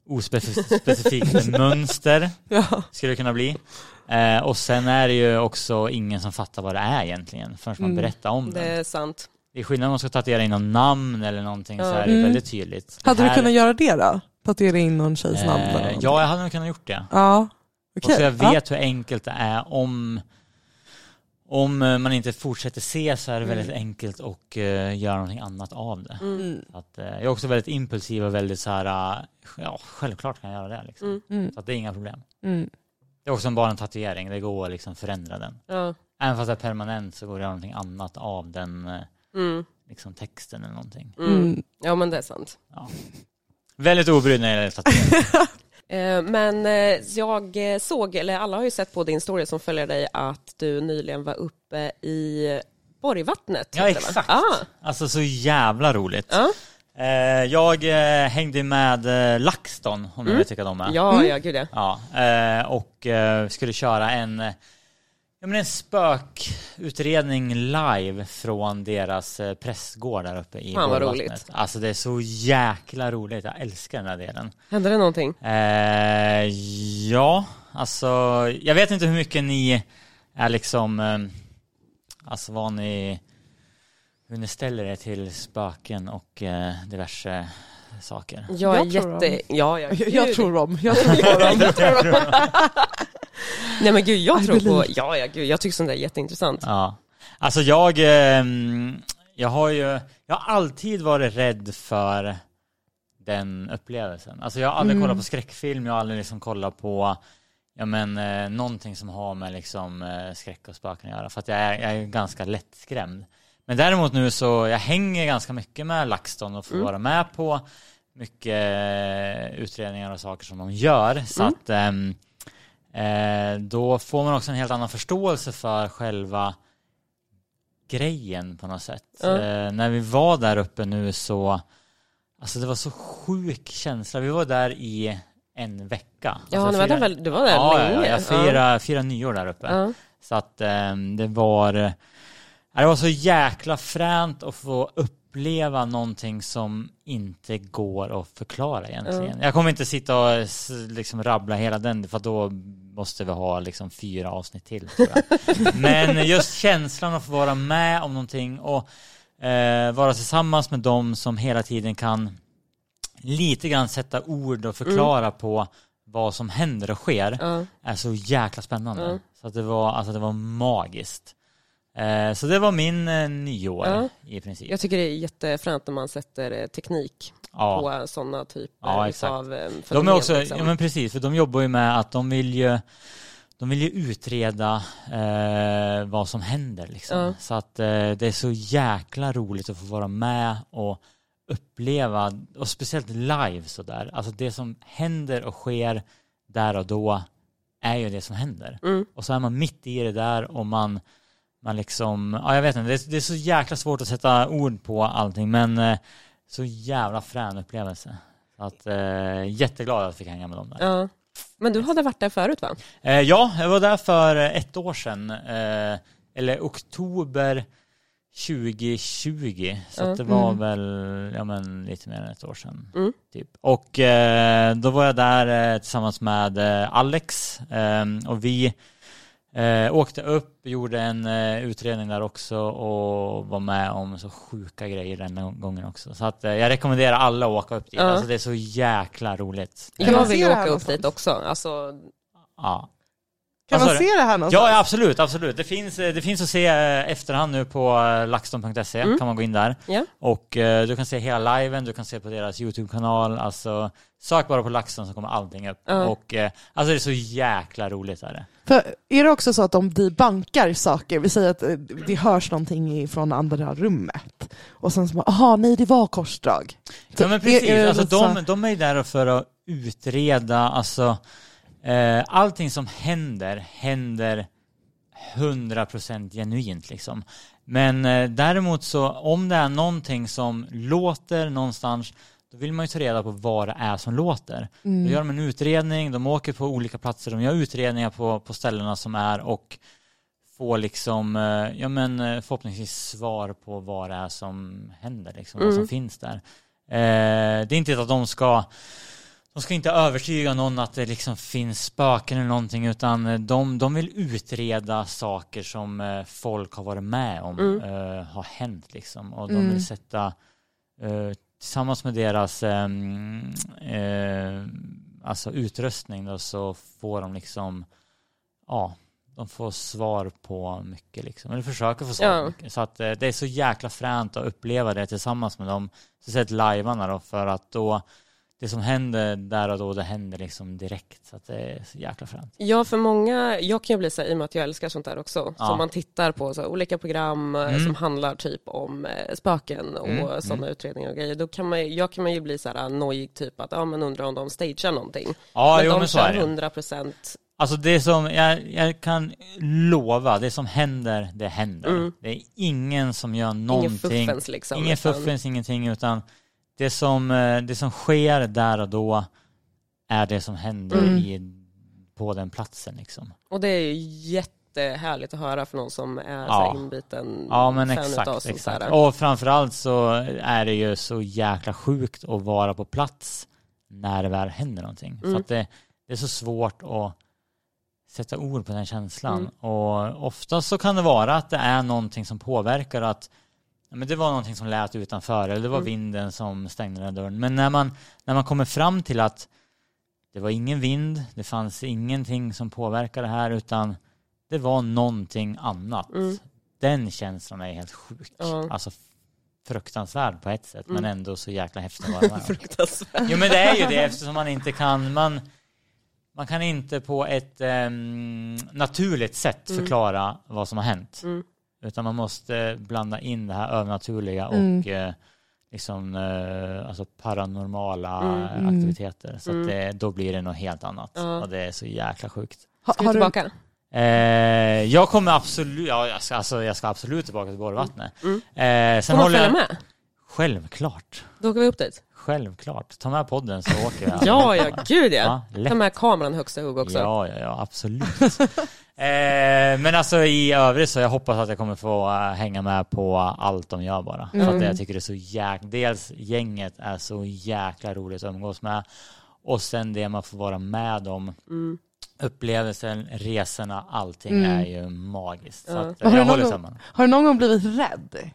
Speaker 4: ospecifikt mönster
Speaker 2: Ja.
Speaker 4: skulle det kunna bli. Eh, och sen är det ju också ingen som fattar vad det är egentligen förrän man
Speaker 2: Mm.
Speaker 4: berättar om
Speaker 3: Det
Speaker 4: det.
Speaker 3: är sant.
Speaker 4: Det är skillnad om man ska tatuera in någon namn eller någonting så
Speaker 3: Ja.
Speaker 4: här är det
Speaker 2: Mm.
Speaker 4: väldigt tydligt.
Speaker 2: Hade
Speaker 4: Det
Speaker 2: du
Speaker 4: här-
Speaker 2: kunnat göra det då? Tatuera in någon tjejs namn? eller
Speaker 4: eh,
Speaker 2: någonting?
Speaker 4: Ja, jag hade nog kunnat gjort det.
Speaker 2: Ja. Okej.
Speaker 4: Och så jag
Speaker 2: Ja.
Speaker 4: vet hur enkelt det är om om eh, man inte fortsätter se så är det väldigt enkelt att eh, göra någonting annat av det.
Speaker 2: Mm.
Speaker 4: Så Att, eh, jag är också väldigt impulsiv och väldigt så här, eh, ja självklart kan jag göra det liksom.
Speaker 3: Mm.
Speaker 2: Mm.
Speaker 4: Så att det är inga problem.
Speaker 2: Mm.
Speaker 4: Det är också bara en tatuering, det går att liksom förändra den.
Speaker 3: Ja.
Speaker 4: Även fast det är permanent så går det att göra någonting annat av den eh,
Speaker 3: Mm.
Speaker 4: liksom texten eller någonting.
Speaker 3: Mm.
Speaker 2: Mm.
Speaker 3: Ja men det är sant.
Speaker 4: Väldigt obrydd när det gäller tatuering.
Speaker 3: Eh, Men eh, jag eh, såg, eller alla har ju sett på din story som följer dig, att du nyligen var uppe i Borgvattnet.
Speaker 4: Ja,
Speaker 3: heter det, va?
Speaker 4: exakt.
Speaker 3: Ah,
Speaker 4: Alltså så jävla roligt.
Speaker 3: Ja.
Speaker 4: Eh, jag eh, hängde med eh, LaxTon, om du vet vilka de är.
Speaker 3: Mm. ja, ja, gud ja.
Speaker 4: Ja, eh, och eh, skulle köra en, eh, ja, men en spökutredning live från deras eh, pressgård där uppe i
Speaker 3: Fan, vad
Speaker 4: Borgvattnet.
Speaker 3: roligt.
Speaker 4: Alltså det är så jäkla roligt, jag älskar den här delen.
Speaker 3: Hände det någonting?
Speaker 4: Eh, ja, alltså jag vet inte hur mycket ni är liksom, eh, alltså vad ni, hur ni ställer er till spöken och eh, diverse saker.
Speaker 3: Jag är
Speaker 2: Jag tror
Speaker 3: jätte... Ja, ja,
Speaker 2: Jag, jag
Speaker 3: gud.
Speaker 2: tror om. Jag tror på dem.
Speaker 3: Jag tror dem. Nej men gud, jag
Speaker 2: I
Speaker 3: tror på...
Speaker 2: believe.
Speaker 3: Ja, ja, gud, jag tycker sånt där är jätteintressant.
Speaker 4: Ja. Alltså jag, eh, jag har ju, jag har alltid varit rädd för den upplevelsen. Alltså jag har aldrig kollat på skräckfilm, jag har aldrig liksom kollat på ja men, eh, någonting som har med liksom, eh, skräck och spöken att göra. För att jag är, jag är ganska lättskrämd. Men däremot nu så, jag hänger ganska mycket med LaxTon och får vara med på mycket eh, utredningar och saker som de gör. Så att ehm, eh, då får man också en helt annan förståelse för själva grejen på något sätt.
Speaker 3: Ja.
Speaker 4: Eh, när vi var där uppe nu så, alltså det var så sjuk känsla. Vi var där i en vecka.
Speaker 3: Ja,
Speaker 4: alltså
Speaker 3: det var,
Speaker 4: fyra-
Speaker 3: där, väl- det var där
Speaker 4: ja,
Speaker 3: länge.
Speaker 4: ja, ja, jag firade, firade nyår där uppe.
Speaker 3: Ja.
Speaker 4: Så att ehm, det var ja, det var så jäkla fränt att få uppleva någonting som inte går att förklara egentligen. Jag kommer inte sitta och s- liksom rabbla hela den för då måste vi ha liksom fyra avsnitt till. Tror jag. Men just känslan att få vara med om någonting och eh, vara tillsammans med dem som hela tiden kan lite grann sätta ord och förklara på vad som händer och sker
Speaker 3: Ja.
Speaker 4: är så jäkla spännande.
Speaker 3: Ja.
Speaker 4: Så att det var, alltså det var magiskt. Eh, så det var min eh, nyår
Speaker 3: Ja.
Speaker 4: i princip.
Speaker 3: Jag tycker det är jättefränt när man sätter eh, teknik
Speaker 4: ja.
Speaker 3: på sådana typer
Speaker 4: Ja, exakt.
Speaker 3: av eh,
Speaker 4: De är
Speaker 3: fenomen,
Speaker 4: också,
Speaker 3: liksom.
Speaker 4: ja men precis, för de jobbar ju med att de vill ju de vill ju utreda eh, vad som händer liksom.
Speaker 3: Ja.
Speaker 4: Så att eh, det är så jäkla roligt att få vara med och uppleva, och speciellt live sådär. Alltså det som händer och sker där och då är ju det som händer.
Speaker 3: Mm.
Speaker 4: Och så är man mitt i det där och man, man liksom, ja jag vet inte, det är, det är så jäkla svårt att sätta ord på allting men eh, så jävla frän upplevelse. Så att, eh, jätteglad att jag fick hänga med dem där.
Speaker 3: Ja. Men du hade varit där förut va?
Speaker 4: Eh, ja, jag var där för ett år sedan, eh, eller oktober 2020, så
Speaker 3: Ja.
Speaker 4: att det var
Speaker 2: Mm.
Speaker 4: väl ja, men, lite mer än ett år sedan.
Speaker 3: Mm.
Speaker 4: Typ. Och eh, då var jag där eh, tillsammans med eh, Alex eh, och vi eh, åkte upp, gjorde en eh, utredning där också och var med om så sjuka grejer den gången också. Så att, eh, jag rekommenderar alla att åka upp dit,
Speaker 3: Ja.
Speaker 4: alltså, det är så jäkla roligt.
Speaker 2: Kan
Speaker 3: Jag
Speaker 2: man
Speaker 3: vill
Speaker 2: se
Speaker 3: ju
Speaker 2: det
Speaker 3: åka
Speaker 2: här
Speaker 3: upp
Speaker 2: någonstans?
Speaker 3: dit också. Alltså,
Speaker 4: Ja.
Speaker 2: Kan
Speaker 4: Vad sa
Speaker 2: man
Speaker 4: du?
Speaker 2: se det här någonstans?
Speaker 4: Ja, ja, absolut, absolut. Det finns, eh, det finns att se eh, efterhand nu på eh, laxton.se,
Speaker 3: Mm.
Speaker 4: kan man gå in där.
Speaker 3: Ja.
Speaker 4: Och eh, du kan se hela liven, du kan se på deras YouTube-kanal, alltså sök bara på LaxTon så kommer allting upp.
Speaker 3: Ja.
Speaker 4: Och eh, alltså det är så jäkla roligt är det.
Speaker 2: För är det också så att de debankar saker, vi säger att eh, det hörs någonting från andra rummet, och sen så bara, aha nej det var korsdrag.
Speaker 4: Ja men precis,
Speaker 2: Är- är det
Speaker 4: alltså,
Speaker 2: lite så
Speaker 4: de,
Speaker 2: här-
Speaker 4: de är ju där för att utreda, alltså eh, allting som händer, händer 100% genuint liksom. Men eh, däremot så om det är någonting som låter någonstans, då vill man ju ta reda på vad det är som låter.
Speaker 2: Mm.
Speaker 3: Mm.
Speaker 4: Då gör de en utredning, de åker på olika platser, de gör utredningar på, på ställena som är och får liksom, eh, ja men eh, förhoppningsvis svar på vad det är som händer liksom, vad som
Speaker 3: Mm.
Speaker 4: finns där. Eh, det är inte att de ska de ska inte övertyga någon att det liksom finns spöken eller någonting utan eh, de, de vill utreda saker som eh, folk har varit med om
Speaker 3: Mm.
Speaker 4: eh, har hänt liksom. Och de
Speaker 2: Mm.
Speaker 4: vill sätta eh, tillsammans med deras ehm, eh, alltså utrustning då, så får de liksom ja, de får svar på mycket liksom. Eller försöker få svar
Speaker 3: Ja.
Speaker 4: på mycket. Så att eh, det är så jäkla fränt att uppleva det tillsammans med dem. Speciellt lajvarna då för att då det som händer där och då det händer liksom direkt. Så att det är så jäkla fränt.
Speaker 3: Ja, för många, jag kan ju bli så här, i och med att jag älskar sånt där också,
Speaker 4: Ja.
Speaker 3: som man tittar på så här, olika program eh, som handlar typ om eh, spöken och
Speaker 4: Mm,
Speaker 3: sådana utredningar och grejer. Då kan man, jag kan man ju bli så här nojig typ att, ja men undrar om de stagear någonting.
Speaker 4: Ja,
Speaker 3: men
Speaker 4: jo
Speaker 3: de
Speaker 4: men så
Speaker 3: kör
Speaker 4: är det.
Speaker 3: 100%
Speaker 4: Alltså det som, jag, jag kan lova, det som händer, det händer.
Speaker 3: Mm.
Speaker 4: Det är ingen som gör
Speaker 3: ingen
Speaker 4: någonting.
Speaker 3: fuffens liksom.
Speaker 4: Ingen
Speaker 3: utan-
Speaker 4: fuffens, ingenting, utan det som, eh, det som sker där och då är det som händer
Speaker 2: Mm.
Speaker 4: i, på den platsen liksom.
Speaker 3: Och det är ju jättehärligt att höra för någon som är så
Speaker 4: Ja.
Speaker 3: här inbiten
Speaker 4: Ja men
Speaker 3: fan utav
Speaker 4: exakt,
Speaker 3: sånt där.
Speaker 4: exakt. Och framförallt så är det ju så jäkla sjukt att vara på plats när det väl händer någonting.
Speaker 3: Mm.
Speaker 4: För att det, det är så svårt att sätta ord på den känslan.
Speaker 3: Mm.
Speaker 4: Och oftast så kan det vara att det är någonting som påverkar att ja, men det var någonting som lät utanför eller det var
Speaker 3: Mm.
Speaker 4: vinden som stängde den här dörren. Men när man, när man kommer fram till att det var ingen vind, det fanns ingenting som påverkade det här utan det var någonting annat.
Speaker 3: Mm.
Speaker 4: Den känslan är helt sjuk.
Speaker 3: Ja.
Speaker 4: Alltså fruktansvärd på ett sätt men
Speaker 3: Mm.
Speaker 4: ändå så jäkla häftig att vara med om.
Speaker 3: Fruktansvärt.
Speaker 4: Jo men det är ju det eftersom man inte kan, man, man kan inte på ett ehm, naturligt sätt
Speaker 3: Mm.
Speaker 4: förklara vad som har hänt.
Speaker 3: Mm.
Speaker 4: Utan man måste blanda in det här övernaturliga och
Speaker 2: Mm.
Speaker 4: eh, liksom, eh, alltså paranormala
Speaker 3: Mm.
Speaker 4: eh, aktiviteter. Så
Speaker 3: Mm.
Speaker 4: att det, då blir det något helt annat.
Speaker 3: Ja.
Speaker 4: Och det är så jäkla sjukt.
Speaker 2: Ha-
Speaker 3: Ska vi
Speaker 2: har du-
Speaker 3: tillbaka?
Speaker 4: Eh, jag kommer absolut, ja, jag, ska, alltså, jag ska absolut tillbaka till Borgvattnet.
Speaker 3: Mm.
Speaker 4: Eh, sen
Speaker 3: Får man
Speaker 4: håller
Speaker 3: följa
Speaker 4: jag,
Speaker 3: med?
Speaker 4: självklart,
Speaker 3: Då åker vi upp dit.
Speaker 4: självklart. Ta med podden så åker jag.
Speaker 3: Ja, ja, gud ja.
Speaker 4: Ja, lätt.
Speaker 3: Ta med kameran högsta hugg också.
Speaker 4: Ja, ja, ja absolut. eh, men alltså i övrigt så jag hoppas att jag kommer få eh, hänga med på allt de gör bara. För att
Speaker 2: Mm.
Speaker 4: jag tycker det är så jäkla, dels gänget är så jäkla roligt att umgås med och sen det man får vara med om,
Speaker 3: Mm.
Speaker 4: upplevelsen, resorna, allting
Speaker 2: Mm.
Speaker 4: är ju magiskt. Så
Speaker 3: Ja.
Speaker 4: att,
Speaker 2: Har
Speaker 4: eh,
Speaker 2: du
Speaker 4: jag
Speaker 2: någon
Speaker 4: håller
Speaker 2: gång-
Speaker 4: tummarna.
Speaker 2: Har du någon gång blivit rädd?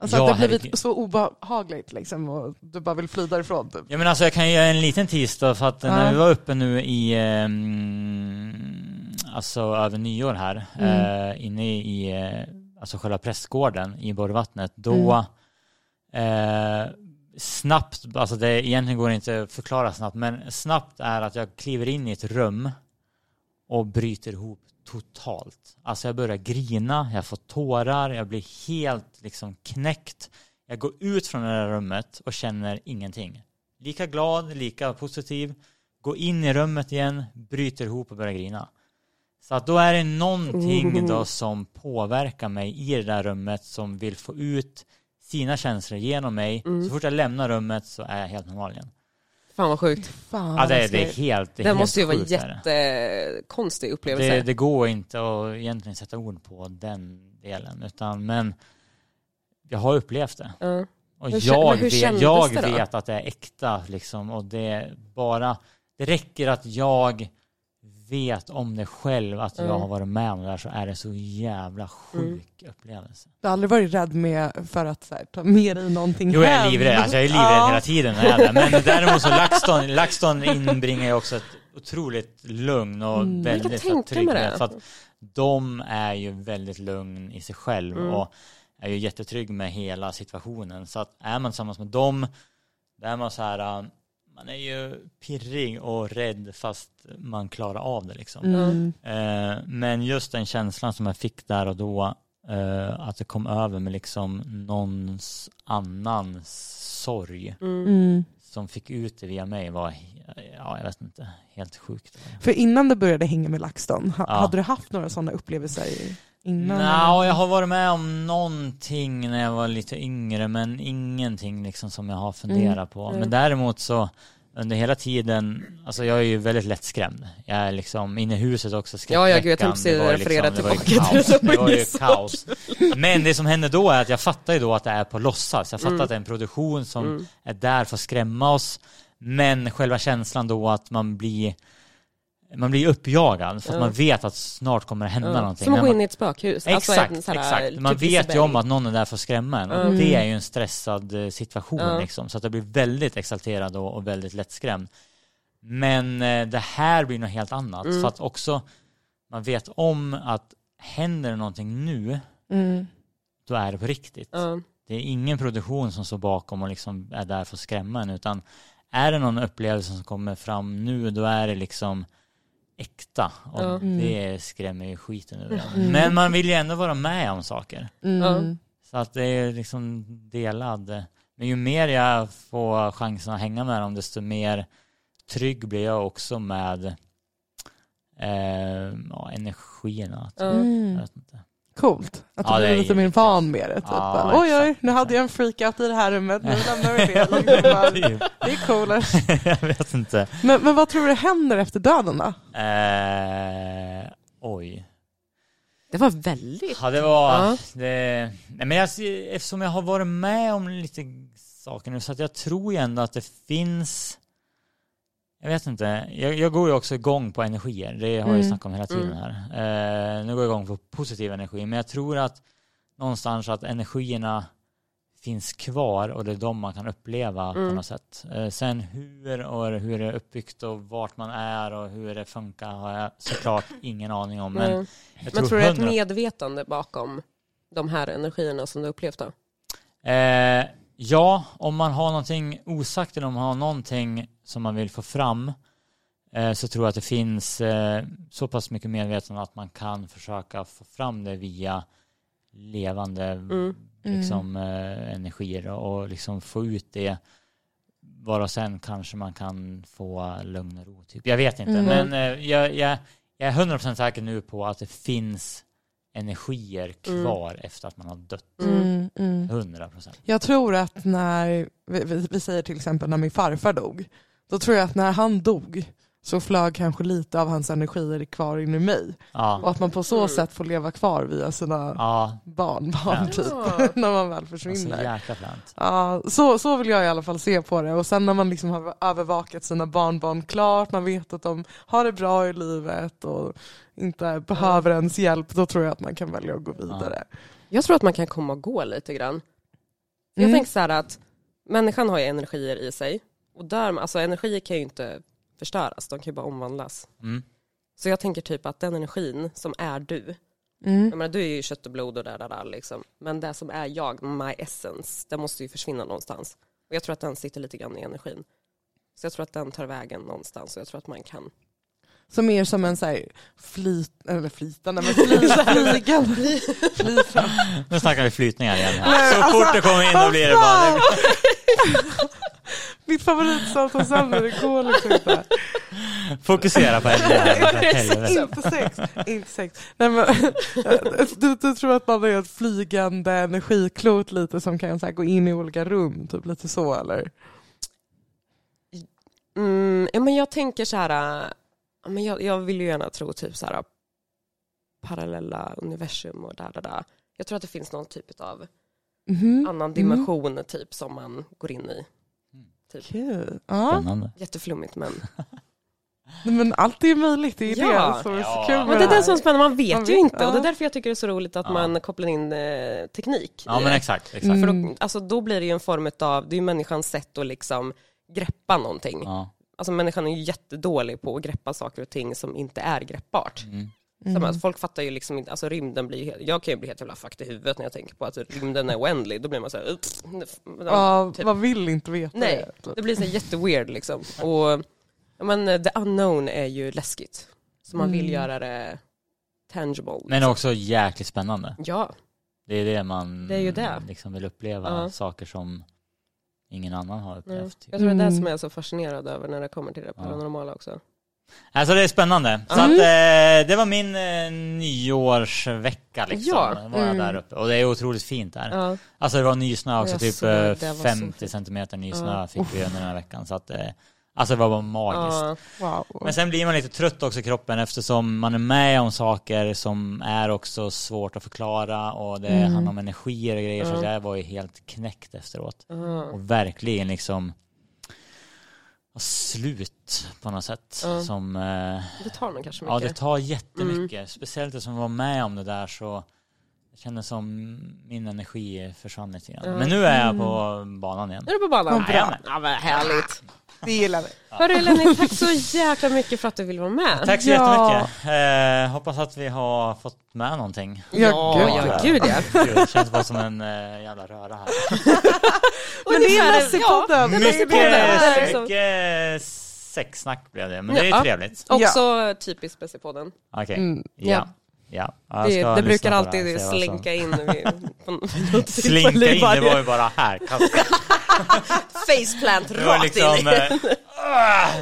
Speaker 2: Alltså
Speaker 4: Ja,
Speaker 2: att det har blivit
Speaker 4: herregud.
Speaker 2: så obehagligt liksom och du bara vill fly därifrån typ.
Speaker 4: Ja men alltså jag kan ju göra en liten tease då för att eh,
Speaker 2: Ja.
Speaker 4: när vi var uppe nu i ehm, alltså över nyår här
Speaker 2: Mm.
Speaker 4: eh, inne i eh, alltså själva prästgården i Borgvattnet då eh, snabbt, alltså det egentligen går det inte att förklara snabbt men snabbt är att jag kliver in i ett rum och bryter ihop totalt. Alltså jag börjar grina, jag får tårar, jag blir helt liksom knäckt. Jag går ut från det där rummet och känner ingenting. Lika glad, lika positiv. Går in i rummet igen, bryter ihop och börjar grina. Så att då är det
Speaker 3: Mm.
Speaker 4: någonting då som påverkar mig i det där rummet som vill få ut sina känslor genom mig.
Speaker 3: Mm.
Speaker 4: Så fort jag lämnar rummet så är jag helt normal igen.
Speaker 3: Fan vad sjukt.
Speaker 2: Fan,
Speaker 4: Ja, det, är-
Speaker 2: vad
Speaker 4: det är
Speaker 2: skoj.
Speaker 4: helt det är
Speaker 3: Det
Speaker 4: helt
Speaker 3: måste ju vara
Speaker 4: sjukt, är det.
Speaker 3: jättekonstig upplevelse.
Speaker 4: Det, det går inte att egentligen sätta ord på den delen, utan, men jag har upplevt det.
Speaker 3: Ja.
Speaker 4: Och
Speaker 3: Hur kä-
Speaker 4: jag
Speaker 3: men hur
Speaker 4: vet,
Speaker 3: kändes
Speaker 4: jag
Speaker 3: det då?
Speaker 4: vet att det är äkta liksom, och det är bara, det räcker att jag vet om det själv, att jag
Speaker 3: Mm.
Speaker 4: har varit med om det där, så är det så jävla sjuk upplevelse.
Speaker 2: Du har aldrig varit rädd med för att så här, ta med dig någonting
Speaker 3: Mm.
Speaker 4: Jo, jag är
Speaker 2: hem?
Speaker 4: livrädd. Alltså, jag är livrädd
Speaker 2: Ja.
Speaker 4: hela tiden. när jag är där. Men däremot så LaxTon, LaxTon inbringar ju också ett otroligt lugn och
Speaker 2: Mm. Jag kan
Speaker 4: väldigt så här,
Speaker 3: tänka mig
Speaker 4: trygg med.
Speaker 3: det.
Speaker 4: För att de är ju väldigt lugn i sig själv
Speaker 3: Mm.
Speaker 4: och är ju jättetrygg med hela situationen. Så att är man tillsammans med dem, där är man så här, äh, man är ju pirrig och rädd fast man klarar av det liksom.
Speaker 2: Mm.
Speaker 4: Eh, men just den känslan som jag fick där och då, eh, att det kom över med liksom någons annans sorg
Speaker 3: Mm.
Speaker 2: Mm.
Speaker 4: som fick ut det via mig var, ja jag vet inte, helt sjukt.
Speaker 2: För innan du började hänga med LaxTon, ha,
Speaker 4: Ja.
Speaker 2: hade du haft några sådana upplevelser innan?
Speaker 4: Nja, jag har varit med om någonting när jag var lite yngre men ingenting liksom som jag har funderat
Speaker 2: Mm,
Speaker 4: på.
Speaker 3: mm.
Speaker 4: Men däremot så under hela tiden, alltså jag är ju väldigt lättskrämd. Jag är liksom inne i huset också
Speaker 3: Ja, ja, gud, jag
Speaker 4: skräckveckan,
Speaker 3: tänkte säga
Speaker 4: var ju liksom,
Speaker 3: referera
Speaker 4: det var ju
Speaker 3: tillbaka till
Speaker 4: kaos.
Speaker 3: det.
Speaker 4: Det var ju
Speaker 3: Så-
Speaker 4: kaos. Men det som händer då är att jag fattar ju då att det är på låtsas. Jag fattar att det är en produktion som
Speaker 3: Mm.
Speaker 4: är där för att skrämma oss. Men själva känslan då att man blir man blir uppjagad för att
Speaker 3: Ja.
Speaker 4: man vet att snart kommer det hända
Speaker 3: Ja.
Speaker 4: någonting.
Speaker 3: Som att gå
Speaker 4: När man-
Speaker 3: in i ett spökhus. Alltså
Speaker 4: Exakt,
Speaker 3: en sån här,
Speaker 4: exakt.
Speaker 3: typ
Speaker 4: Man vet ju
Speaker 3: Liseberg.
Speaker 4: om att någon är där för att skrämma en. Och
Speaker 2: Mm.
Speaker 4: det är ju en stressad eh, situation
Speaker 3: Ja.
Speaker 4: liksom. Så att jag blir väldigt exalterad och, och väldigt lättskrämd. Men eh, det här blir något helt annat.
Speaker 3: Mm.
Speaker 4: För att också man vet om att händer det någonting nu,
Speaker 2: Mm.
Speaker 4: då är det på riktigt.
Speaker 3: Ja.
Speaker 4: Det är ingen produktion som står bakom och liksom är där för att skrämma en. Utan är det någon upplevelse som kommer fram nu, då är det liksom äkta. Och
Speaker 3: Ja.
Speaker 2: Mm.
Speaker 4: det skrämmer ju skiten ur en.
Speaker 2: Mm.
Speaker 4: Men man vill ju ändå vara med om saker.
Speaker 2: Mm.
Speaker 4: Så att det är liksom delad. Men ju mer jag får chansen att hänga med dem desto mer trygg blir jag också med eh, ja, energierna.
Speaker 3: Ja.
Speaker 4: Jag
Speaker 2: Mm.
Speaker 4: vet inte.
Speaker 2: Coolt. Att du
Speaker 4: Ja, det
Speaker 2: blev
Speaker 4: är
Speaker 2: lite mer
Speaker 4: jättekul.
Speaker 2: van med det. Typ.
Speaker 4: Ja,
Speaker 2: Bara, oj, oj,
Speaker 4: exakt,
Speaker 2: nu hade jag en freakout i det här rummet. Nu lämnar vi det. Liksom bara, Det är coolare.
Speaker 4: jag vet inte.
Speaker 2: Men, men vad tror du händer efter döden då?
Speaker 4: Eh, oj.
Speaker 3: Det var väldigt...
Speaker 4: Ja, det var...
Speaker 3: Ja.
Speaker 4: Det, nej, men jag, eftersom jag har varit med om lite saker nu så att jag tror ju ändå att det finns... Jag vet inte. Jag, jag går ju också igång på energier. Det har jag
Speaker 2: Mm.
Speaker 4: ju snackat om hela tiden
Speaker 3: Mm.
Speaker 4: här. Eh, nu går jag igång på positiv energi. Men jag tror att någonstans att energierna finns kvar och det är de man kan uppleva på
Speaker 3: Mm.
Speaker 4: något sätt. Eh, sen hur och hur det är uppbyggt och vart man är och hur det funkar har jag såklart ingen aning om. Men
Speaker 3: Men,
Speaker 4: jag
Speaker 3: Mm. men
Speaker 4: tror,
Speaker 3: tror du det är ett
Speaker 4: 100
Speaker 3: medvetande bakom de här energierna som du upplevt då?
Speaker 4: Eh, ja, om man har någonting osagt eller om man har någonting som man vill få fram eh, så tror jag att det finns eh, så pass mycket medvetande att man kan försöka få fram det via levande
Speaker 3: Mm.
Speaker 4: liksom, eh, energier och, och liksom få ut det bara sen kanske man kan få lugn och ro. Typ. Jag vet inte,
Speaker 2: Mm.
Speaker 4: men eh, jag, jag, jag är 100% säker nu på att det finns energier
Speaker 3: Mm.
Speaker 4: kvar efter att man har dött.
Speaker 2: Mm, mm.
Speaker 4: 100%.
Speaker 2: Jag tror att när, vi, vi, vi säger till exempel när min farfar dog, då tror jag att när han dog så flög kanske lite av hans energier kvar in i mig. Och
Speaker 4: Ja,
Speaker 2: att man på så
Speaker 3: Mm.
Speaker 2: sätt får leva kvar via sina
Speaker 4: ja.
Speaker 2: barnbarn
Speaker 4: Ja.
Speaker 2: typ, när man väl
Speaker 4: Alltså,
Speaker 2: försvinner.
Speaker 4: jäkla fränt.
Speaker 2: Ja, så, så vill jag i alla fall se på det. Och sen när man liksom har övervakat sina barnbarn klart, man vet att de har det bra i livet och inte behöver ens hjälp, då tror jag att man kan välja att gå vidare.
Speaker 3: Jag tror att man kan komma och gå lite grann. För Jag
Speaker 2: Mm.
Speaker 3: tänker så här att människan har ju energier i sig. Och där, alltså energier kan ju inte förstöras, de kan ju bara omvandlas.
Speaker 4: Mm.
Speaker 3: Så jag tänker typ att den energin som är du,
Speaker 2: Mm.
Speaker 3: jag menar du är ju kött och blod och där, där, där liksom. Men det som är jag, my essence, den måste ju försvinna någonstans. Och jag tror att den sitter lite grann i energin. Så jag tror att den tar vägen någonstans och jag tror att man kan
Speaker 2: Som är som en så här flyt, eller flytande, men flyt, flygande. Flytande.
Speaker 4: Nu snackar vi flytningar igen här.
Speaker 2: Nej,
Speaker 4: Så
Speaker 2: alltså,
Speaker 4: fort det kommer in då blir det bara... Det blir...
Speaker 2: Mitt favoritsamtalsämne, det går liksom inte.
Speaker 4: Fokusera på ämnet här. för helvete.
Speaker 2: Inte sex, inte sex. Nej, men, du, du tror att man är ett flygande energiklot lite som kan så här, gå in i olika rum, typ lite så eller?
Speaker 3: Mm, ja, men jag tänker så här, äh, ja, men jag, jag vill ju gärna tro typ så här äh, parallella universum och där, där, där. Jag tror att det finns någon typ av
Speaker 2: Mhm.
Speaker 3: annan dimension typ som man går in i.
Speaker 2: Kul. Ja.
Speaker 4: Spännande.
Speaker 3: Jätteflummigt men.
Speaker 2: Nej, Men allt är ju möjligt, det är ju
Speaker 3: Ja.
Speaker 2: det Mm. som är så
Speaker 4: Ja.
Speaker 2: kul med
Speaker 3: Men det är det som är spännande, man vet
Speaker 2: Man
Speaker 3: ju
Speaker 2: vet-
Speaker 3: inte. Och
Speaker 2: ja.
Speaker 3: det är därför jag tycker det är så roligt att
Speaker 4: Ja.
Speaker 3: man kopplar in eh, teknik.
Speaker 4: Ja
Speaker 3: i
Speaker 4: men
Speaker 3: det.
Speaker 4: exakt, exakt.
Speaker 2: Mm.
Speaker 3: För då, alltså, då blir det ju en form av, det är ju människans sätt att liksom greppa någonting.
Speaker 4: Ja.
Speaker 3: alltså människan är ju jättedålig på att greppa saker och ting som inte är greppbart.
Speaker 4: Mm.
Speaker 2: Mm.
Speaker 3: Som att folk fattar ju liksom inte, alltså rymden blir, helt- jag kan ju bli helt jävla fucked i huvudet när jag tänker på att rymden är oändlig, då blir man såhär,
Speaker 2: Ja,
Speaker 3: typ.
Speaker 2: man vill inte veta
Speaker 3: Nej,
Speaker 2: det. typ.
Speaker 3: det blir så här jätteweird liksom. Och ja, men eh, the unknown är ju läskigt. Så man vill
Speaker 2: Mm.
Speaker 3: göra det tangible. Liksom.
Speaker 4: Men också jäkligt spännande.
Speaker 3: Ja,
Speaker 4: Det är det man
Speaker 3: Det är ju det.
Speaker 4: Liksom vill uppleva,
Speaker 3: Ja.
Speaker 4: saker som ingen annan har
Speaker 3: ja.
Speaker 4: upplevt.
Speaker 3: jag tror det är det
Speaker 2: Mm.
Speaker 3: som jag är så fascinerad över när det kommer till det
Speaker 4: typ. Ja.
Speaker 3: paranormala också.
Speaker 4: Alltså det är spännande. Så
Speaker 2: Mm.
Speaker 4: att, eh, det var min eh, nyårsvecka liksom.
Speaker 3: Ja.
Speaker 4: Var jag
Speaker 2: Mm.
Speaker 4: där uppe. Och det är otroligt fint där.
Speaker 3: Ja.
Speaker 4: Alltså det var ny snö också,
Speaker 3: Jag
Speaker 4: typ
Speaker 3: såg det, det
Speaker 4: eh,
Speaker 3: var så
Speaker 4: 50
Speaker 3: fint.
Speaker 4: centimeter ny
Speaker 3: Ja.
Speaker 4: snö fick vi under den här veckan. Så att, eh, alltså det var bara magiskt.
Speaker 3: Ja.
Speaker 2: Wow.
Speaker 4: Men sen blir man lite trött också i kroppen eftersom man är med om saker som är också svårt att förklara och det
Speaker 2: Mm.
Speaker 4: handlar om energier och grejer. Så
Speaker 3: Ja.
Speaker 4: att jag var ju helt knäckt efteråt.
Speaker 3: Ja.
Speaker 4: Och verkligen liksom ja, slut på något sätt.
Speaker 3: Ja.
Speaker 4: Som, eh,
Speaker 3: Det tar nog kanske
Speaker 4: ja
Speaker 3: mycket. Mm.
Speaker 4: det tar jättemycket. Speciellt det som var med om det där så jag känner som min energi försvann lite grann.
Speaker 3: Ja. Mm.
Speaker 4: Men nu är jag på banan igen.
Speaker 3: Nu är du på banan.
Speaker 2: Vad bra.
Speaker 3: Ja, vad härligt.
Speaker 2: det gillar vi.
Speaker 3: Hörru Lenny, tack så jäkla mycket för att du ville vara med.
Speaker 4: Tack så
Speaker 2: Ja.
Speaker 4: jättemycket. Eh, hoppas att vi har fått med någonting.
Speaker 3: Ja,
Speaker 2: gud,
Speaker 3: ja, gud ja.
Speaker 4: Gud, det känns bara som en eh, jävla röra här.
Speaker 2: Men det är
Speaker 3: ja,
Speaker 2: Lassepodden!
Speaker 3: det är
Speaker 4: Mycket,
Speaker 3: Lassepodden. liksom.
Speaker 4: mycket sexsnack blev det, men det är
Speaker 3: Ja.
Speaker 4: trevligt.
Speaker 3: Också typiskt Bessipodden.
Speaker 4: Okej,
Speaker 2: Mm.
Speaker 4: ja. ja. Ja, jag
Speaker 3: Det,
Speaker 4: ska
Speaker 3: det
Speaker 4: lyssna
Speaker 3: brukar
Speaker 4: på
Speaker 3: alltid
Speaker 4: här och se vad som-
Speaker 3: slinka in vid, på något
Speaker 4: Slinka in, det var ju bara här.
Speaker 3: faceplant
Speaker 4: Det var
Speaker 3: rakt
Speaker 4: liksom...
Speaker 3: in. i-
Speaker 4: eh,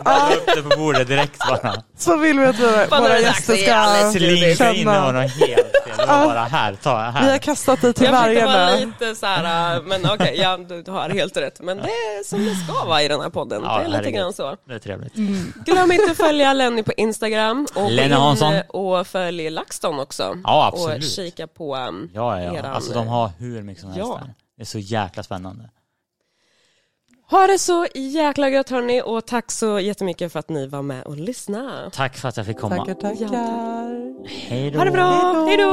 Speaker 4: ah, Jag upp det på bordet direkt bara.
Speaker 2: Så vill vi att våra-
Speaker 3: Fan, det
Speaker 2: våra
Speaker 3: är dags
Speaker 2: gäster
Speaker 3: igen.
Speaker 2: ska
Speaker 4: Slinka in det var
Speaker 2: känna.
Speaker 4: något helt fel. Det var bara här, ta
Speaker 2: Vi har
Speaker 4: här.
Speaker 2: kastat dig till
Speaker 3: Jag försökte vara
Speaker 2: vargarna.
Speaker 3: lite så här, äh, men okej, ja, du har helt rätt. Men det är som det ska vara i den här podden.
Speaker 4: Ja,
Speaker 3: det är lite
Speaker 4: herregud.
Speaker 3: grann så.
Speaker 4: Det är trevligt.
Speaker 3: Mm. Glöm inte att följa Lenny på Instagram. Och gå
Speaker 4: Lenny
Speaker 3: in eh,
Speaker 4: Hansson.
Speaker 3: Och följ LaxTon också.
Speaker 4: Ja, absolut.
Speaker 3: Och kika på... ähm,
Speaker 4: Ja, ja, ja.
Speaker 3: Eran,
Speaker 4: Alltså de har hur mycket som helst
Speaker 3: ja.
Speaker 4: där. Det är så jäkla spännande.
Speaker 3: Ha det så jäkla gött hörni och tack så jättemycket för att ni var med och lyssnade.
Speaker 4: Tack för att jag fick komma.
Speaker 2: Tackar, tackar.
Speaker 4: Hej då.
Speaker 3: Ha det bra, hej då!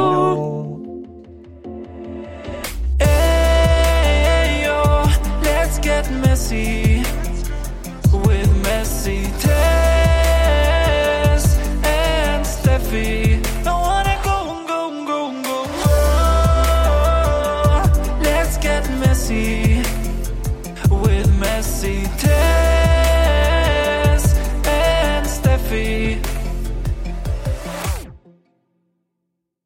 Speaker 1: Ayo, let's get messy with messy Tess and Steffi. Oh,